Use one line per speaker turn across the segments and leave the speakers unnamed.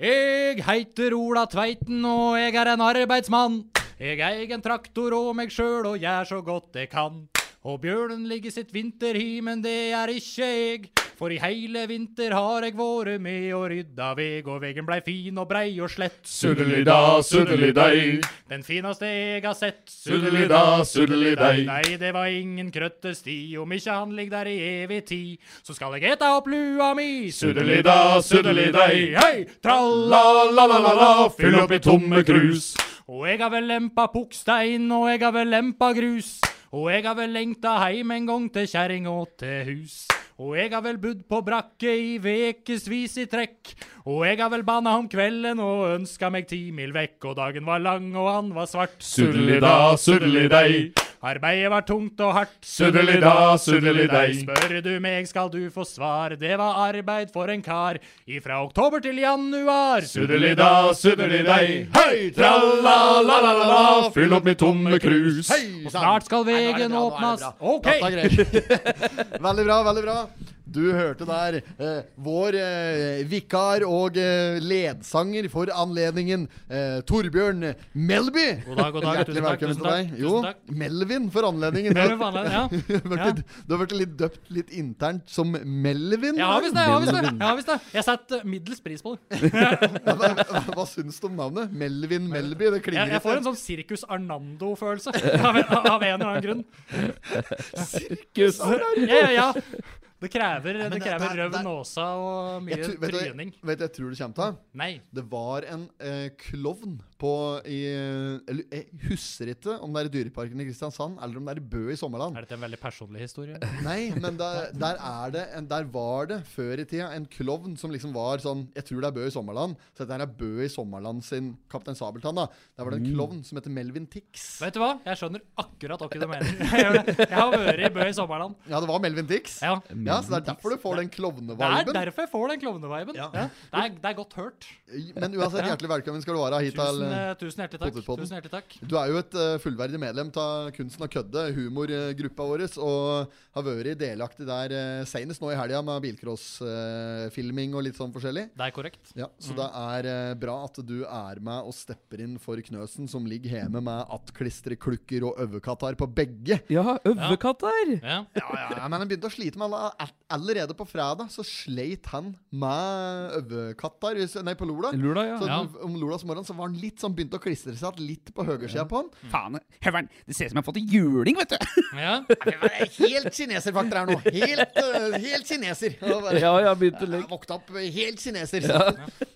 Jeg heiter Ola Tveiten, og jeg er en arbeidsmann. Jeg eier en traktor og meg sjøl, og gjør så godt jeg kan. Og bjørnen ligger sitt vinterhi, men det er ikke jeg. For i heile vinter har jeg vært med og rydda veg, og vegen blei fin og brei og slett.
Suddelida, suddelidei,
Den fineste jeg har sett.
Suddelida, suddelidei.
Nei, det var ingen krøttesti, om ikke han ligger der i evig tid, så skal jeg eta opp lua mi.
Suddelida, suddelidei.
hei, tralla.
La-la-la-la-la, fyll opp i tomme krus.
Og jeg har vel lempa pukkstein, og jeg har vel lempa grus. Og jeg har vel lengta heim en gang til kjerring og til hus. Og jeg har vel budd på brakke i vekevis i trekk. Og jeg har vel banna om kvelden og ønska meg ti mil vekk. Og dagen var lang, og han var svart.
Suddelida, suddelidei,
Arbeidet var tungt og hardt.
Suddelida, suddelidei.
Spør du meg, skal du få svar. Det var arbeid for en kar. Ifra oktober til januar.
Suddelida, suddelidei, hei, tralla-la-la-la-la, fyll opp i tomme krus.
Og snart skal vegen åpnes. OK!
Veldig bra, veldig bra. Du hørte der eh, vår eh, vikar og eh, ledsanger for anledningen, eh, Torbjørn Melby.
God dag, god dag.
Hjertelig
Tusen takk,
velkommen
tusen
til deg.
takk,
Jo,
tusen takk.
Melvin for anledningen.
Det er jo vanlig, ja.
Du har vært litt- du har blitt litt døpt litt internt som Melvin.
Jeg har visst det. Jeg har visst det.
Melvin.
Jeg har visst det. Jeg setter middels pris på det.
Hva, hva- hva syns du om navnet? Melvin Melby? Det
Jeg,
klinger
jeg får en sånn Sirkus Arnando-følelse av, en- av en eller annen grunn.
Kuss.
Ja, ja, ja. Det krever, det
men det-
krever
det-
røv
det-
nåsa og
Jeg
mye
tror- vet, du, hva
tryning.
jeg- vet du, jeg tror det kommer til.
Nei.
Det var en eh, klovn på i, eller, eh, Jeg husker ikke om det er i Dyreparken i Kristiansand eller om det er i Bø i Sommerland.
Er dette en veldig personlig historie?
Nei, men der, der, er det en, der var det før i tida en klovn som liksom var sånn Jeg tror det er Bø i Sommerland. Så dette her er Bø i Sommerland sin Kaptein Sabeltann. da Der var det en klovn som heter Melvin Tix.
Vet du hva? Jeg skjønner akkurat hva du mener. Jeg gjør det. Jeg har vært i Bø i sommerland.
Ja, det var Melvin Tix.
Ja.
Ja, så det er derfor du får den
Det er
klovneviben.
derfor jeg får den klovneviben. Ja. Det, er- det er godt hørt.
Men uansett, hjertelig velkommen skal du være hit til
Tusen, eh, tusen hjertelig takk.
Potetpodden.
Tusen hjertelig takk.
Du er jo et eh, fullverdig medlem av Kunsten og kødde, humorgruppa vår, og har vært delaktig der eh, senest nå i helga med bilcrossfilming og litt sånn forskjellig.
Det er korrekt.
Ja, Så det er eh, bra at du er med og stepper inn for Knøsen, som ligger hjemme med attklistrklukker og øvekatar på begge.
Ja, øvekatt her!
Ja.
Ja, ja, ja, Men han begynte å slite med alle- all- Allerede på fredag så sleit han med øvekatar, hvis- nei, på Lola.
Lula, ja.
Så
Ja.
om Lolas morgen så var han litt sånn begynt å klistre seg igjen litt på høyresida på han.
Faen, høveren, det ser ut som jeg har fått juling, vet du.
Ja.
Helt kineserfaktor her nå. Helt, eh, helt kineser. Og bare,
Ja, ja, begynte å
jeg
leke.
Våkna opp eh, helt kineser.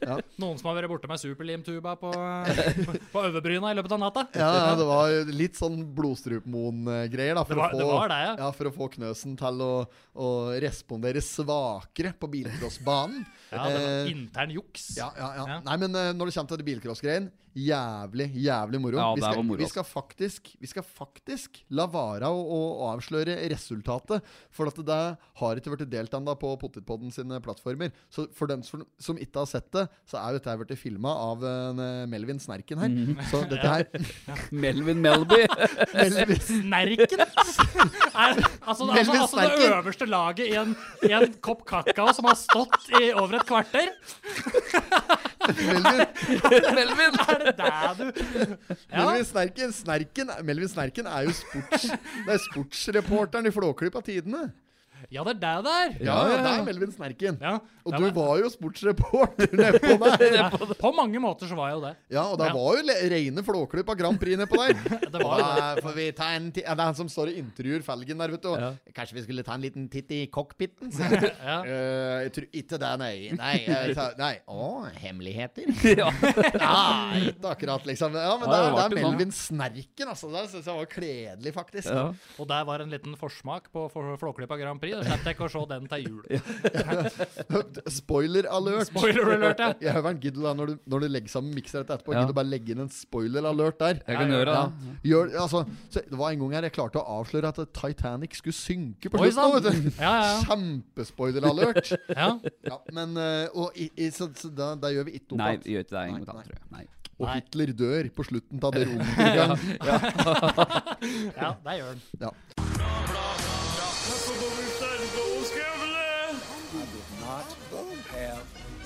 Ja.
Noen som har vært borte med superlimtuba på, på overbryna i løpet av natta?
Ja, det var litt sånn blodstrupmoen-greier, da. For,
Det var-
å få,
det var det, ja.
For å få Knøsen til å, å respondere svakere på bilcrossbanen.
Ja, det var
Eh,
intern juks.
ja, ja, ja.
Ja.
Nei, men eh, når det kommer til det bilcrossgreien, jævlig, jævlig moro.
Ja,
vi,
det
skal,
var moro,
vi, skal faktisk, vi skal faktisk la vare å, å avsløre resultatet, for at det har ikke vært delt ennå på Potetpodden sine plattformer. Så for dem som, som ikke har sett det, så er jo dette her blitt filma av en, eh, Melvin Snerken her. Så dette her
Melvin Melby.
Melvin,
Snerken! Er, altså, altså,
Veldig
altså det
snerken.
øverste laget i en, i en kopp kakao som har stått i over et kvarter.
Melvin,
Melvin!
Er det der du Ja.
Melvin Snerken, Snerken Melvin Snerken er jo sports, det er sportsreporteren i Flåklypa Tidene.
Ja, det er der det er.
Ja, ja, det er Melvin Snerken.
Ja,
Og
det
du
var-
var jo sportsreporter nedpå der.
ja, På mange måter så var jo det.
Ja, og det
Ja.
var jo le- reine flåklypa Grand Prix nedpå der.
Det var jo det.
Da får vi ta en ti ja, Det er han som står og intervjuer felgen der, vet du. og Kanskje vi skulle ta en liten titt i cockpiten? sier han.
Ja.
«Eh, jeg tror ikke det, nei. Nei, jeg sa- nei. Å, hemmeligheter?
Ja.
Nei, ikke akkurat, liksom. Ja,
Ja, det
men det, er-
var
det er
ikke sånn.
Melvin Snerken, altså. Det syns jeg var kledelig, faktisk.
Ja.
Og der var en liten forsmak på for- Flåklypa Grand Prix. Da slapp jeg ikke å se den til jul.
Spoiler alert.
Spoiler alert, ja.
Jeg hører gidder da når du, når du legger sammen mikser dette etterpå.
Ja.
Gidder du bare legge inn en spoiler alert der.
Jeg kan gjøre det.
Ja. Gjør, altså, så det var en gang her jeg klarte å avsløre at Titanic skulle synke på
Oi
slutten.
sann!
vet du.
Ja, ja,
Kjempespoiler alert.
ja.
Ja, men eh, og, i, i, så, så da, da gjør vi ikke opp
Nei,
at-
vi gjør ikke det.
Nei,
Ingeborg,
nei.
tror jeg. Nei.
Og
Nei.
Hitler dør på slutten av det rommet.
ja. ja der gjør den.
Ja.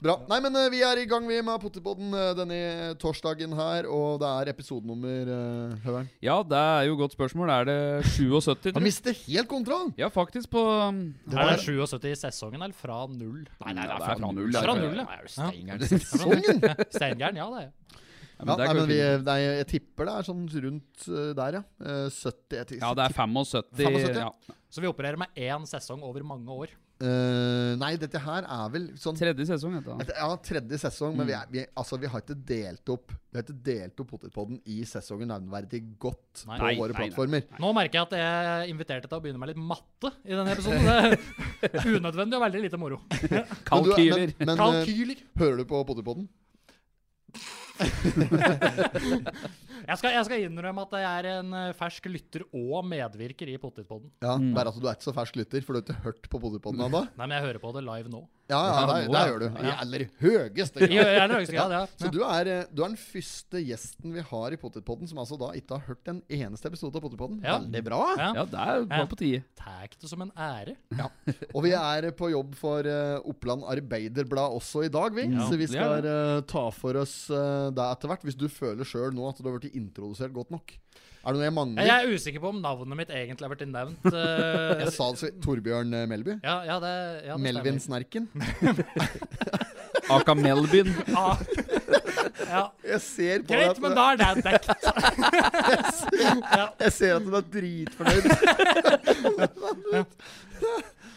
Bra. Nei, men eh, vi er i gang vi med Potipodden eh, denne torsdagen her, og det er episodenummer, uh, Høveren.
Ja, det er jo et godt spørsmål. Er det 77?
Han
Tror jeg?
mister helt kontroll!
Ja, faktisk på um,
Det
Er
var
det 77 i sesongen, eller fra null?
Nei, nei, det
er fra null,
Fra
det
null, ja. ja.
sesongen!
Steingæren, ja det. er jeg.
Ja,
Ja,
men det
nei,
går
men vi, eh,
fint.
nei, jeg tipper det er sånn rundt eh, der, ja. Eh, 70 jeg tipper-
Ja, det er 75.
75,
ja.
Så vi opererer med én sesong over mange år.
Eh, Nei, dette her er vel sånn
Tredje sesong, heter
Mm.
det.
Ja, tredje sesong, men vi, er, vi, altså, vi har ikke delt opp Vi har ikke delt opp Potetpodden i sesongen nevneverdig godt
Nei.
på
Nei,
våre
nei, nei.
plattformer.
Nå merker jeg at jeg inviterte deg til å begynne med litt matte i denne episoden. Det er unødvendig og veldig lite moro.
Men du-
Kalkyler.
Men, men eh,
Kalkyler.
hører du på Potetpodden?
Jeg skal, jeg skal innrømme at jeg er en eh, fersk lytter og medvirker i Pottitpodden.
Ja, Mm. bare at du er ikke så fersk lytter, for du har ikke hørt på Potetpodden ennå?
Nei, men jeg hører på det live nå.
Ja, ja,
Ja,
der,
nå,
der
ja.
gjør du. I
Ja.
aller høyeste
I aller høyeste grad, ja.
Så du er, eh, du er den første gjesten vi har i Potetpodden som altså da ikke har hørt en eneste episode av Potetpodden.
Ja.
Veldig bra!
Ja.
Ja, det er bare på tide.
Tar det som en ære.
Og vi er eh, på jobb for eh, Oppland Arbeiderblad også i dag, vi.
Ja,
så vi
det er
skal eh, ta for oss uh, det etter hvert, hvis du føler sjøl nå at du har blitt introdusert godt nok. Er det noe jeg
Ja,
mangler?
Jeg er usikker på om navnet mitt egentlig har vært nevnt. eh,
Jeg sa det så Torbjørn eh, Melby?
ja, ja, det, ja, det
Melvin
stemmer.
Snerken?
Aka Melbyen.
Ah. Ja.
Jeg ser på
Greit,
deg
men
at,
da er det dekt.
du- jeg ser at du er dritfornøyd.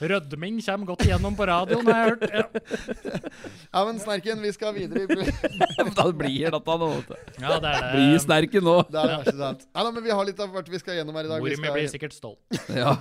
Rødming kommer godt igjennom på radioen, har jeg hørt. Ja.
Ja, men Snerken, vi skal videre. i-
da blir dette nå. vet du.
Ja, det er
Um,
Bli
det.
sterke nå.
Det er det verste sant. Nei da, men vi har litt av hvert vi skal gjennom her i dag. Vi
Mor mi blir
skal,
sikkert stolt.
Ja.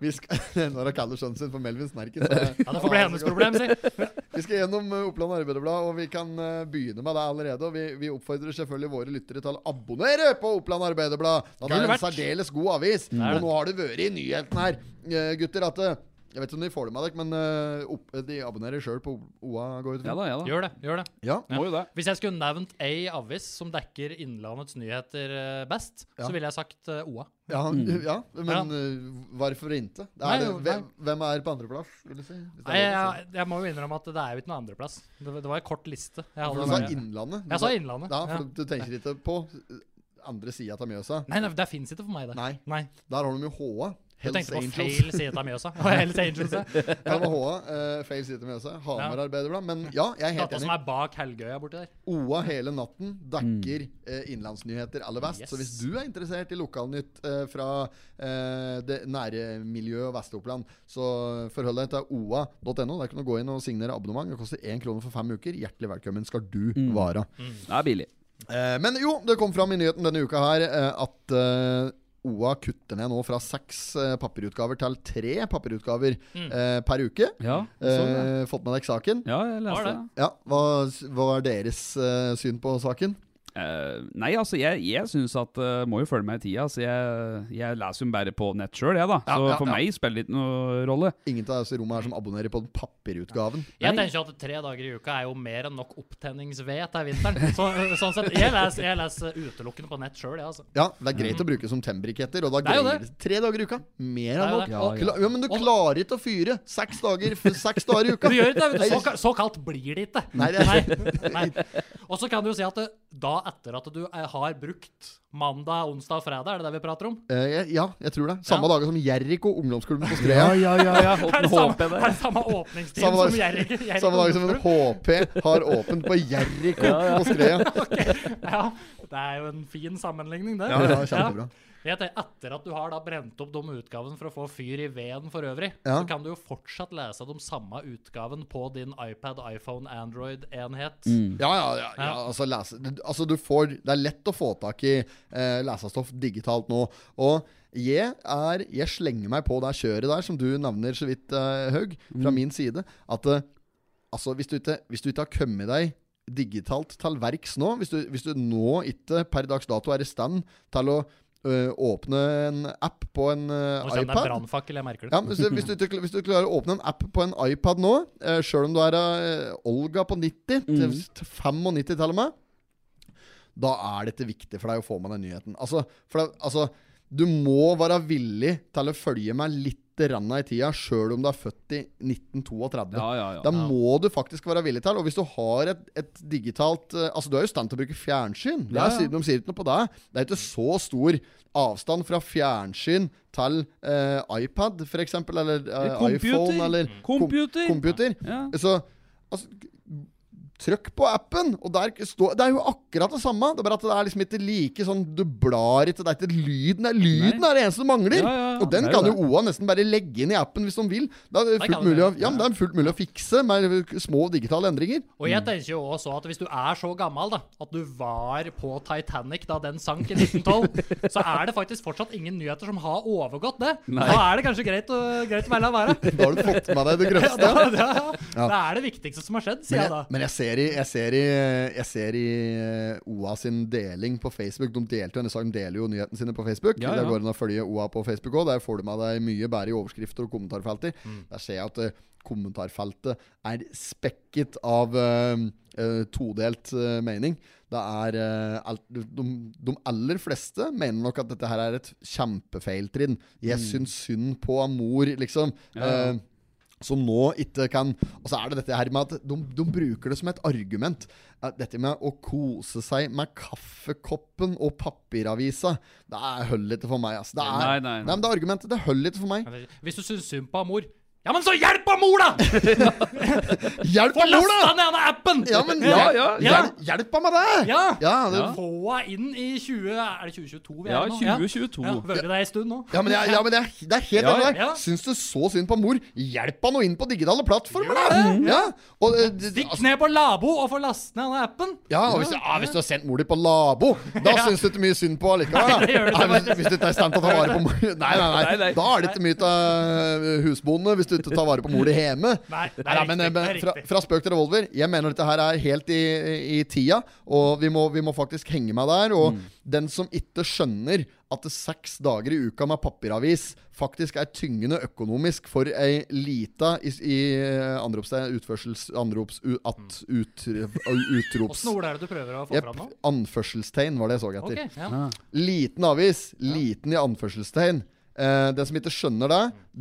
vi skal, når hun kaller sønnen sin for Melvin Snerken. så-
Ja, Det får bli hennes problem, si.
Vi skal gjennom eh, Oppland Arbeiderblad, og vi kan eh, begynne med det allerede. Og vi, vi oppfordrer selvfølgelig våre lyttere til å abonnere på Oppland Arbeiderblad. Da det
Gull
er en
verdt.
særdeles god avis.
er
Og
det.
nå har det vært i nyheten her, eh, gutter, at eh, Jeg vet ikke om de får det med dere, men eh, opp, de abonnerer sjøl på OA, går jeg ut
ja
fra.
da, ja da.
Gjør det. gjør det.
Ja.
Må jo det.
Hvis jeg skulle nevnt ei avis som dekker Innlandets nyheter eh, best,
Ja.
så ville jeg sagt eh, OA.
Ja, ja, men eh, hvorfor ikke? Det
Nei,
Er,
jo,
hvem, hvem er på andreplass, vil du si? Hvis det er
Nei, jeg,
lov å si.
jeg, jeg må jo innrømme at det er jo ikke noen andreplass. Det, det var en kort liste. Jeg,
For
hadde
du sa
bare-
Innlandet. Du
jeg sa Innlandet.
Ja,
Ja.
for du tenker ikke på eh, andre sida av Mjøsa.
Nei, nei, det fins ikke for meg, det.
Nei,
Nei.
der har de jo HA.
Jeg
Hells
tenkte på
Angels.
feil side av Mjøsa. Og Hells Angels, ja.
Ja, det var HA. eh, feil side til Mjøsa. Hamar
Ja.
Arbeiderblad. Men ja, jeg er helt
Data som
enig.
er bak Helgøya borti der.
OA hele natten dekker eh, innlandsnyheter aller best.
Yes.
Så hvis du er interessert i lokalnytt eh, fra eh, det nære miljøet og Vest-Oppland, så forhold deg til oa.no. Der kan du gå inn og signere abonnement. Det koster én krone for fem uker. Hjertelig velkommen skal du være.
Mm.
Det er billig.
Eh, men jo, det kom fram i nyheten denne uka her eh, at eh, OA kutter ned nå fra seks eh, papirutgaver til tre papirutgaver
Mm.
eh, per uke.
Ja, sånn det.
Eh, fått med deg saken?
Ja, jeg
Var
leste det.
det?
Ja, Hva, hva er deres eh, syn på saken?
Eh, nei, altså, jeg, jeg syns at eh, Må jo følge med i tida. Så jeg, jeg leser jo bare på nett sjøl, jeg, da.
Ja,
så
ja,
for
ja.
meg spiller det ikke noe rolle.
Ingen av oss i rommet her som abonnerer på den papirutgaven.
Jeg
Nei.
tenker at tre dager i uka er jo mer enn nok opptenningsved til vinteren. Så, sånn sett, jeg leser, jeg leser utelukkende på nett sjøl, jeg, altså.
Ja, Det er greit å bruke som tembriketter. Og da
Det er jo
greier tre dager i uka. Mer
Det er
enn
jo
nok.
det.
Ja,
Og-
Kla- ja, men du klarer ikke å fyre seks dager, f- seks dager i uka.
Du gjør ikke det, vet du. Så, så kaldt blir det ikke.
Nei, det er-
Nei. Nei. Og så kan du jo si at det, da etter at du eh, har brukt mandag, onsdag og fredag, er det det vi prater om?
Eh, jeg- ja, jeg tror det. Samme dager som Jeriko, ungdomsklubben på Skrea.
ja, ja, ja.
Det er det
Håper
samme,
jeg
det
det.
er samme åpningstid
Samme dag-
som Jerrig. Jerrig-
Samme dag som en HP har åpent på Jeriko på Skrea.
Ja, det er jo en fin sammenligning, det.
Ja, ja, kjempebra.
Jeg tenker, etter at du har da brent opp de utgavene for å få fyr i veden for øvrig,
Ja.
så kan du jo fortsatt lese de samme utgaven på din iPad, iPhone, Android-enhet.
Ja, ja, ja, ja. Altså, lese, altså du får Det er lett å få tak i eh, lesestoff digitalt nå. Og jeg er Jeg slenger meg på det kjøret der som du nevner så vidt, eh, Haug, fra min side. At eh, altså, hvis du ikke, hvis du ikke har kommet deg digitalt til verks nå, hvis du, hvis du nå ikke per dags dato er i stand til å øh, åpne en app på en øh,
Nå kjenner jeg
iPad
brannfakkel, jeg merker det.
ja, men hvis, du, hvis, du, ikke- hvis du klarer å åpne en app på en iPad nå, eh, sjøl om du er eh, Olga på 90, til, til 95 til og med, da er dette viktig for deg å få med den nyheten. Altså, for det, altså du må være villig til å følge med litt grann i tida, sjøl om du er født i 1932.
Ja, ja, ja.
Da må du faktisk være villig til Og hvis du har et, et digitalt eh, Altså, du er jo i stand til å bruke fjernsyn. Det
Ja,
er,
ja.
siden De sier ikke noe på det. Det er ikke så stor avstand fra fjernsyn til eh, iPad, for eksempel eller eh, iPhone, eller kom-
Mm. Computer!
computer.
Ja.
Så altså, g- Trykk på appen, og der står Det er jo akkurat det samme. Det er bare at det er liksom ikke like sånn Du blar ikke. Det er ikke lyden. Det er lyden er det eneste som mangler.
Ja, ja, ja.
Og den
Det er
kan
jo
jo OA nesten bare legge inn i appen hvis de vil. Det er
kan de
fullt mulig å,
det.
ja, men det er fullt mulig å fikse med små digitale endringer.
Og jeg tenker jo også at hvis du er så gammel da, at du var på Titanic da den sank i 1912, så er det faktisk fortsatt ingen nyheter som har overgått det.
Nei.
Da er det kanskje greit å, greit å bare la være.
Da har du fått med deg det
Ja, da,
grøvste.
da, Det er det viktigste som har skjedd,
Men
sier jeg
jeg,
da.
men jeg ser i, jeg ser i, jeg ser i eh, OA sin deling på Facebook. De delte jo denne saken, de deler jo nyhetene sine på Facebook.
Ja, ja.
Det går an å følge OA på Facebook òg. Der får du med deg mye bedre i overskrifter og kommentarfelter.
Mm.
Der ser jeg at eh, kommentarfeltet er spekket av eh, eh, todelt eh, mening. Det er eh, alt, de, de aller fleste mener nok at dette her er et kjempefeiltrinn. Jeg syns synd på mor, liksom.
Mm. ja.
Eh, som nå ikke kan Og så er det dette her med at de, de bruker det som et argument. Eh, Dette med å kose seg med kaffekoppen og papiravisa, det er holder ikke for meg. Altså. Det, er,
Nei, nei, nei.
men det argumentet det holder ikke for meg.
Hvis du syns synd på mor, ja, men så hjelp av mor, da!
Hjelp
Få
meg, mor,
lasta
da!
ned denne appen!
Ja, men
Ja,
hjel-
ja.
Ja.
hjel- Hjelp meg med det!
Ja!
det,
Få henne inn i 20... Er det 2022 vi
Ja,
er i nå?
2022.
Ja, Vært der ei stund nå.
Ja, men, jeg, ja, men det, er, det er helt
Ja,
enig der.
ja.
Syns du så synd på mor? Hjelp han nå inn på digitale plattformer, da! Ja. Og, eh, det-
Stikk
altså,
ned på labo og få laste ned denne appen.
ja, og hvis, ah, hvis du har sendt mor di på labo, da
Ja.
syns du ikke mye synd på allikevel.
Nei, det gjør du
da.
ikke,
Nei, hvis, hvis du ikke er i stand til å ta vare på mor Nei, nei, nei.
Nei, nei.
Da er det ikke mye av husbondene hvis du ikke tar vare på mor di hjemme.
Nei, det er
Nei, men, eh,
riktig, det er
men fra,
riktig.
fra spøk til revolver. Jeg mener dette her er helt i, i tida, og vi må, vi må faktisk henge meg der.
Mm.
Og den som ikke skjønner at det seks dager i uka med papiravis faktisk er tyngende økonomisk for ei lita i, i anropstegn Utførsels... Anrops... U, at... Ut, utrops...
Åssen ord er det du prøver å få
Jepp.
fram nå?
Anførselstegn var det jeg så etter.
Ok, ja.
Liten avis. Liten i anførselstegn. Eh, den som ikke skjønner det,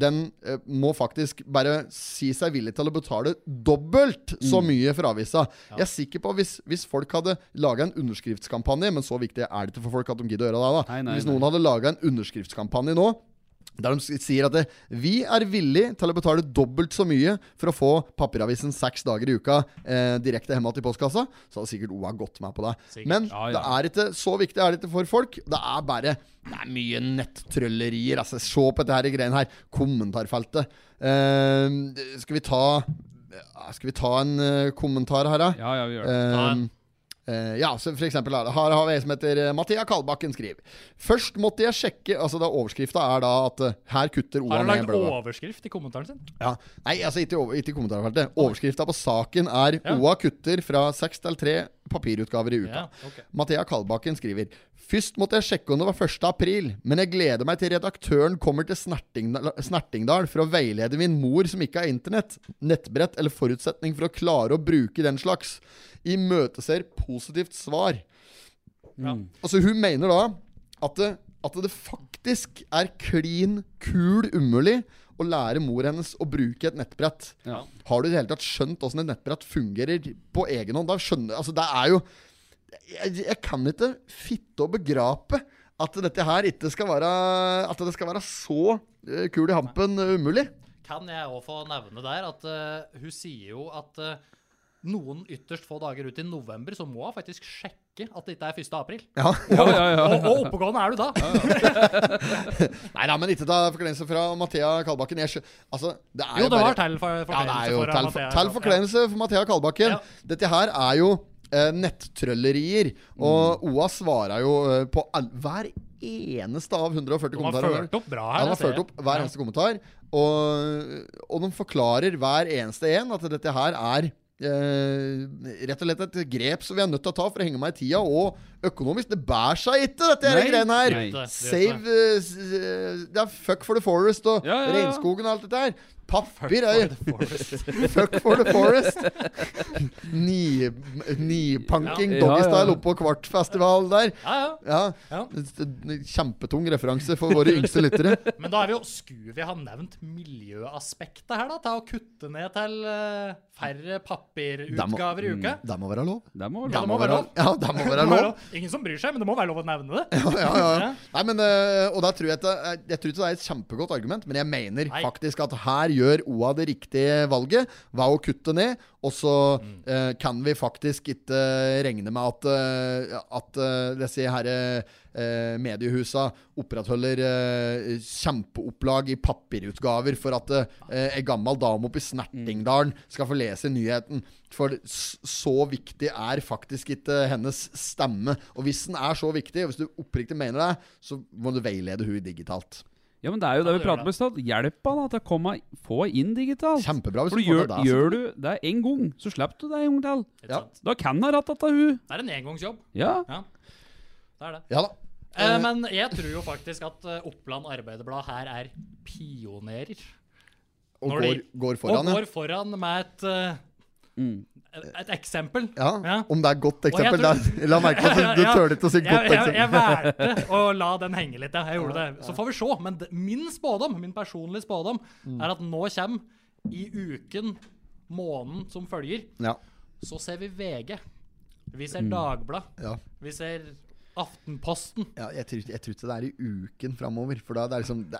den eh, må faktisk bare si seg villig til å betale dobbelt så mye for avisa. Jeg er sikker på hvis, hvis folk hadde laga en underskriftskampanje, men så viktig er det ikke for folk at de gidder å gjøre det, da.
Nei, nei,
hvis noen hadde laga en underskriftskampanje nå, der de s- sier at det, vi er villig til å betale dobbelt så mye for å få papiravisen seks dager i uka eh, direkte hjemme til postkassa, så hadde sikkert OA gått med på det. Men
Ja,
det
ja.
er ikke så viktig er det ikke for folk. Det er bare Det er mye nettrøllerier. Altså, se på dette her greiene her. Kommentarfeltet. Eh, skal vi ta Skal vi ta en eh, kommentar her, da?
Ja, ja, vi gjør det.
Ehm, eh, ja, så for eksempel er det- her har vi en som heter eh, Mathea Kalbakken skriver Først måtte jeg sjekke Altså da overskrifta er da at eh, her kutter
Har
Ola
han
ned
lagd
blødet.
overskrift i kommentaren sin?
Ja. Nei, altså ikke, i over, ikke i kommentarfeltet. Overskrifta på saken er OA kutter fra seks til tre papirutgaver i uka.
Ja, ok.
Mathea Kalbakken skriver Først måtte jeg sjekke om det var 1. april, men jeg gleder meg til redaktøren kommer til Snertingdal, Snertingdal for å veilede min mor som ikke har internett, nettbrett eller forutsetning for å klare å bruke den slags. Imøteser positivt svar. Altså, hun mener da at det, at det faktisk er klin kul umulig å lære mor hennes å bruke et nettbrett.
Ja.
Har du i det hele tatt skjønt åssen et nettbrett fungerer på egen hånd? Da skjønner Altså, det er jo Jeg, jeg kan ikke fitte og begrape at dette her ikke skal være At det skal være så eh, kul i hampen eh, umulig.
Kan jeg òg få nevne der at eh, hun sier jo at eh, noen ytterst få dager ut i november, så må hun faktisk sjekke at det ikke er 1. april.
Ja.
Ja, ja, ja.
Og, og oppegående er du da!
Nei da, men ikke ta forkleinelse fra Mathea Kalbakken. Jeg skjø... Altså, det er
Jo,
jo
det
bare
var til for,
Ja, det er jo
for
til for,
Mathea.
til forkleinelse for Mathea Kalbakken.
Ja.
Dette her er jo eh, nettrøllerier, og
Mm.
OA svarer jo eh, på all, hver eneste av 140
De har
kommentarer.
ført opp bra
Ja,
her. altså. det
de har
ser
ført
jeg.
opp hver eneste kommentar, og, og de forklarer hver eneste en at dette her er eh, rett og slett et grep som vi er nødt til å ta for å henge meg i tida, og økonomisk. Det bærer seg ikke, dette her
Nei.
greiene her.
Nei.
Det- det-
Save eh, s- eh, Det er fuck for the forest og
Ja, ja, ja.
regnskogen og alt dette her. Papir er
Fuck for the forest.
fuck for the forest. Ni- Nipanking,
Ja. Ja,
doggystyle
ja.
oppå kvartfestival der.
Ja, ja.
Ja.
Ja.
Kjempetung referanse for våre yngste lyttere.
Men da er vi jo Skulle vi ha nevnt miljøaspektet her, da? Til å kutte ned til eh, færre papirutgaver i uka?
Det må Mm. være lov.
Det
Ja,
må vel
det må være lov.
Ja, det må
Det
være
må være
lov.
lov. Ingen som bryr seg, men det må være lov å nevne det.
Ja, ja, ja. Nei, men, øh, og der tror jeg, at det, jeg tror ikke det er et kjempegodt argument, men jeg mener
Nei.
faktisk at her gjør OA det riktige valget ved å kutte ned, og så
Mm.
øh, kan vi faktisk ikke regne med at, øh, at øh, disse her øh, mediehusa opprettholder øh, kjempeopplag i papirutgaver for at øh, en gammel dame oppe i
Mm.
Snertingdalen skal få lese nyheten. For s- så viktig er faktisk ikke hennes stemme. Og hvis den er så viktig, og hvis du oppriktig mener det, så må du veilede hun digitalt.
Ja, men det er jo det vi
det gjør
prater om i stad. Hjelp han da til å komme få inn digitalt.
Kjempebra hvis
For
du
du
får
gjør,
til det. altså.
gjør du det en gang, så slipper du det en gang til.
Ikke
Ja.
sant?
Da kan han ratta til hun.
Det er en engangsjobb.
Ja.
Ja. Det er det.
Ja da.
Eh, men jeg tror jo faktisk at eh, Oppland Arbeiderblad her er pionerer.
Og
Når
går,
de-
går foran,
og
ja. Mm.
går foran med et eh, et- Et eksempel.
ja.
Ja.
Om det er et godt eksempel
tror-
der. La merke til at du
Ja,
tør ikke å si
jeg,
godt altså.
jeg, jeg
eksempel.
valgte å la den henge litt. ja. Jeg gjorde det. Så får vi se. Men d- min spådom, min personlige spådom
Mm.
er at nå kommer i uken, måneden som følger,
Ja.
så ser vi VG. Vi
Mm.
ser Dagbladet.
Ja.
Vi ser Aftenposten.
Ja, jeg, tror, jeg tror ikke det er i uken framover, for da det er liksom det,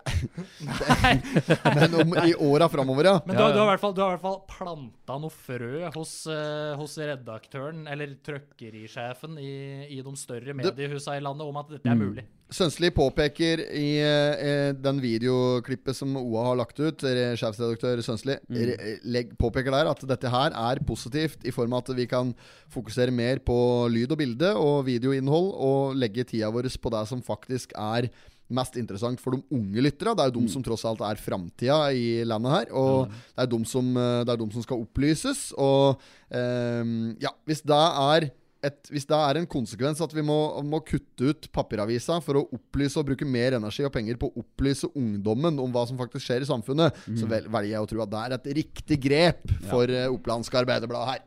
Nei,
Men om, i åra framover, ja.
Men du, har- du har i hvert fall, du har i hvert fall planta noe frø hos, eh, hos redaktøren, eller trøkkerisjefen, i, i de større mediehusa i landet om at dette er
Mm.
mulig.
Sønsli påpeker i eh, den videoklippet som OA har lagt ut, re- sjefsredaktør Sønsli,
Mm.
re- eh, legg, påpeker der at dette her er positivt i form av at vi kan fokusere mer på lyd og bilde og videoinnhold, og legge tida vår på det som faktisk er mest interessant for de unge lytterne. Det er jo de som tross alt er framtida i landet her, og Mm. det er de som, eh, det er de som skal opplyses. Og eh, ja, hvis det er et, hvis det er en konsekvens at vi må, må kutte ut papiravisa for å opplyse og bruke mer energi og penger på å opplyse ungdommen om hva som faktisk skjer i samfunnet, så vel, velger jeg å tro at det er et riktig grep for eh, Opplandske Arbeiderblad her.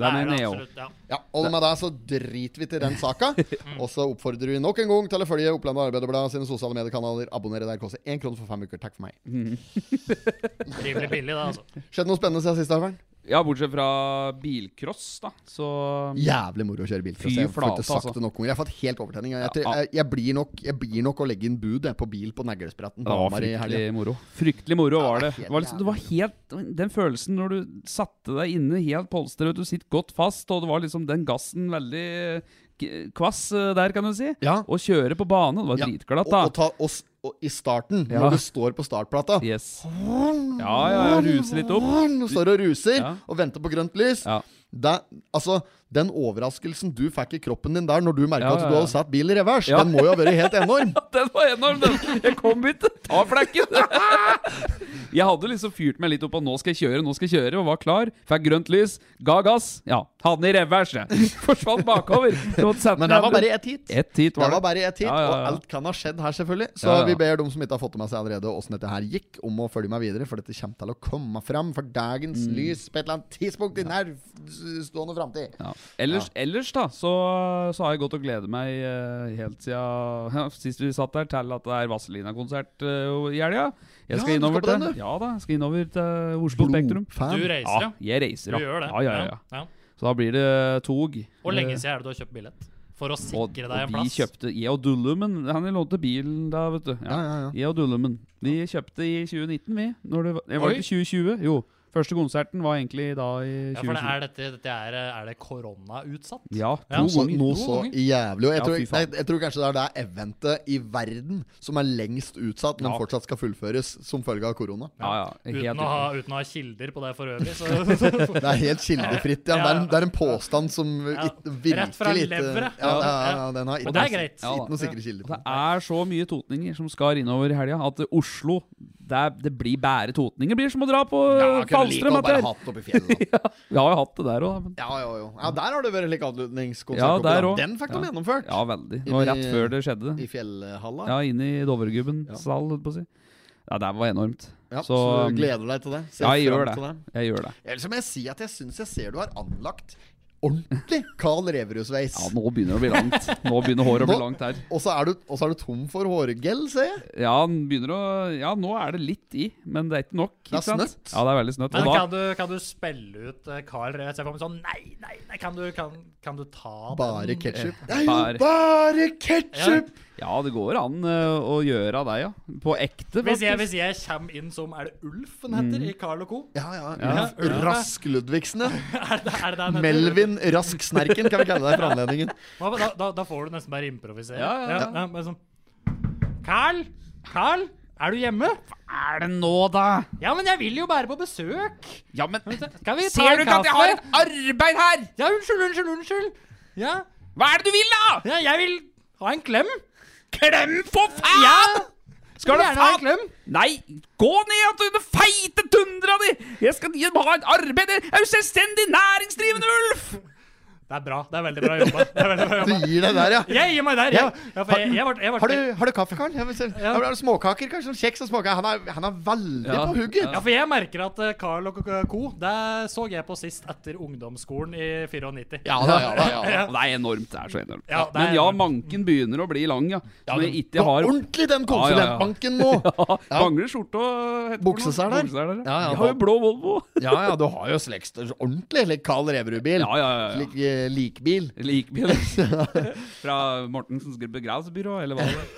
Det mener
det
jeg òg.
absolutt, ja.
Ja, og med det så driter vi til den saka. Og så oppfordrer vi nok en gang til å følge Oppland Arbeiderblad sine sosiale mediekanaler. Abonnere der koster én krone for fem uker. Takk for meg.
Mm.
Rimelig billig, det, altså.
Skjedde noe spennende siden sist, Arvern?
Ja, bortsett fra bilcross, da. Så
Jævlig moro å kjøre bil.
Fy
Fy jeg får
flate,
ikke sagt
altså.
det nok ganger. Jeg har fått helt overtenning. Jeg,
Ja,
jeg,
ja.
jeg, jeg, blir nok, jeg blir nok å legge inn bud jeg, på bil på Neglespretten.
Det var
Hamar i helgen.
fryktelig moro. Fryktelig moro var det.
helt
Det var, liksom, det var helt Den følelsen når du satte deg inne helt polstret, du sitter godt fast, og det var liksom den gassen veldig k- kvass eh, der, kan du si.
Ja.
Og kjøre på bane. Det var
Ja,
dritglatt,
Og, og,
da.
ta, og, s- og i starten,
Ja.
når du står på startplata
Yes. Ja, ja, ja, ruse litt opp.
Du står og ruser
Ja.
og venter på grønt lys.
Ja.
Det- altså, Den overraskelsen du fikk i kroppen din der når du merka
Ja,
at
ja,
du
ja.
hadde satt bil i revers,
Ja.
den må jo ha vært helt enorm.
Den var enorm, den! Jeg kom ikke til å ta flekken! Jeg hadde liksom fyrt meg litt opp på nå skal jeg kjøre, nå skal jeg kjøre, og var klar. Fikk grønt lys, ga gass. Ja, hadde den i revers, jeg. Forsvant bakover. Så måtte sette
Men det var
meg-
bare ett hit.
ett hit,
Det
var
var
det.
bare ett hit,
Ja, ja, ja.
og alt kan ha skjedd her, selvfølgelig. Så
Ja, ja.
vi ber dem som ikke har fått med seg allerede åssen dette her gikk, om å følge meg videre, for dette kommer til å komme fram for dagens
Mm.
lys på et eller annet tidspunkt i nær stående framtid.
Ja. Ellers, ellers da, så, så har jeg gått og gledet meg eh, helt siden sist vi satt der, til at det er Vazelina-konsert eh, i helga.
Ja,
Jeg
du
skal
skal
innover
på den,
til
du.
Ja da, jeg skal innover til Oslo Spektrum.
Du reiser,
Ja,
ja.
jeg reiser,
Du gjør det.
Ja, ja, ja, ja.
Ja.
Så da blir det tog.
Hvor lenge
Eh,
siden er det du har kjøpt billett? For å sikre
og,
deg
og
en
vi
plass?
kjøpte Jeg og Dullumen Han lånte bilen da, vet du.
Ja, ja, ja.
Jeg og Dullumen. Vi kjøpte i 2019, vi. Når det var, jeg
Oi.
var ikke 2020. Jo. Første konserten var egentlig da i
Ja,
2020.
for det er, dette, dette er, eh, er det koronautsatt?
Ja, to
Ja,
Så,
ganger.
noe
To
så
ganger.
jævlig. Og jeg,
Ja,
tror,
fy
nei,
faen.
jeg tror kanskje det er det eventet i verden som er lengst utsatt, men
Ja.
fortsatt skal fullføres som følge av korona.
Ja, ja. Helt
Uten å, ha, uten å ha kilder på det for øvrig. Så, så,
Det er helt kildefritt. Ja. Det, er en, det er en påstand som
Ja.
it, virkelig
Rett fra
ikke-
leveret.
eh, Ja, ja, ja, ja, den har
Og det er greit.
Ja, da.
Ikke noen sikre kilder.
Det
på den.
er så mye totninger som skar innover i helga, at Oslo det, er, det blir bare totninger. Det blir som å dra på
Ja, kunne like
Falstrøm.
å
dette
bare
her.
hatt opp i fjellet. da.
Vi har jo hatt det der òg, men
Ja, jo, jo. Ja, der har det vært like avslutningskonsert.
Ja,
oppe,
der
da.
også.
Den fikk de
Ja.
gjennomført.
Ja, veldig. Det var
Inni-
rett før det skjedde.
I fjellhalla.
Ja, inn i Dovregubbens sal, holdt på å si. Ja, det var enormt.
Ja, så,
så, um,
du gleder deg til det? Ser
Ja, jeg
fram
gjør
til
det. Jeg gjør det.
Ellers må jeg si at jeg syns jeg ser du har anlagt ordentlig Carl Reverud-sveis.
Ja, nå begynner det å bli langt. Nå begynner håret å bli
Nå-
langt her.
Og så er, du- og så er du tom for hårgel, ser jeg.
Ja, den begynner å Ja, nå er det litt i, men det er ikke nok.
er
Ikke sant?
snøtt.
Ja, det er veldig snøtt.
Men
Og da,
kan du, kan du spille ut eh, Carl Jeg ser for meg sånn Nei, nei, nei! Kan du, kan, kan du ta
Bare
den?
ketsjup. Det er
Bare-
jo bare ketsjup!
ja, det går an eh, å gjøre av deg, ja. På ekte,
Hvis jeg,
faktisk.
hvis jeg kommer inn som Er det Ulf den
Mm.
heter i Carl Co?
Ja, ja.
Ja.
Ulf Rask Ludvigsen, ja.
Er det, er det den heter?
Melvin Rask Snerken, kan vi kalle deg for anledningen.
Da, da- da, da får du nesten bare improvisere.
Ja, ja, ja.
men sånn Carl! Carl! Er du hjemme?
Er det nå, da?
Ja, men jeg vil jo bare på besøk.
Ja, men
Skal vi ta
Ser du ikke at jeg har et arbeid her?
Ja, unnskyld, unnskyld, unnskyld. Ja,
Hva er det du vil, da?
ja jeg vil ha en klem.
Klem, for faen!
Skal
du
gjerne ha en
faen-
klem?
Nei, gå ned igjen til den feite tundra di! Jeg skal gi- ha et arbeid der! Jeg er jo selvstendig næringsdrivende, Ulf!
Det er bra. Det er veldig bra jobba. Det er veldig bra
Du
jobba.
gir deg der, ja.
Jeg gir meg der.
Ja.
Jeg, ja, for jeg, jeg, ble, jeg ble,
Har du, har du kaffe, Karl? Jeg vil se-
Ja.
Har du småkaker, kanskje? Sånn Kjeks og småkaker. Han er, han er veldig
Ja.
på hugget.
Ja, for jeg merker at eh, Carl og Co. Det så jeg på sist etter ungdomsskolen i 94.
Ja da, ja da. ja da.
Ja, det er enormt. Det er så enormt.
Ja, det er
men ja,
enormt.
manken begynner å bli lang, ja. Som jeg
Det
ikke har
ordentlig
Ja,
den
ja, ja.
konsulentbanken nå! Ja.
Mangler skjorte og heter
Bukseseler.
det noe? Bukseseler,
Ja, ja.
Jeg har jo blå Volvo.
Ja ja, du har jo slekst ordentlig like Carl Reverud-bil.
Ja, ja, ja. ja.
Slik, eh, likbil.
Likbil. Fra Mortensens begravelsesbyrå, eller hva det var.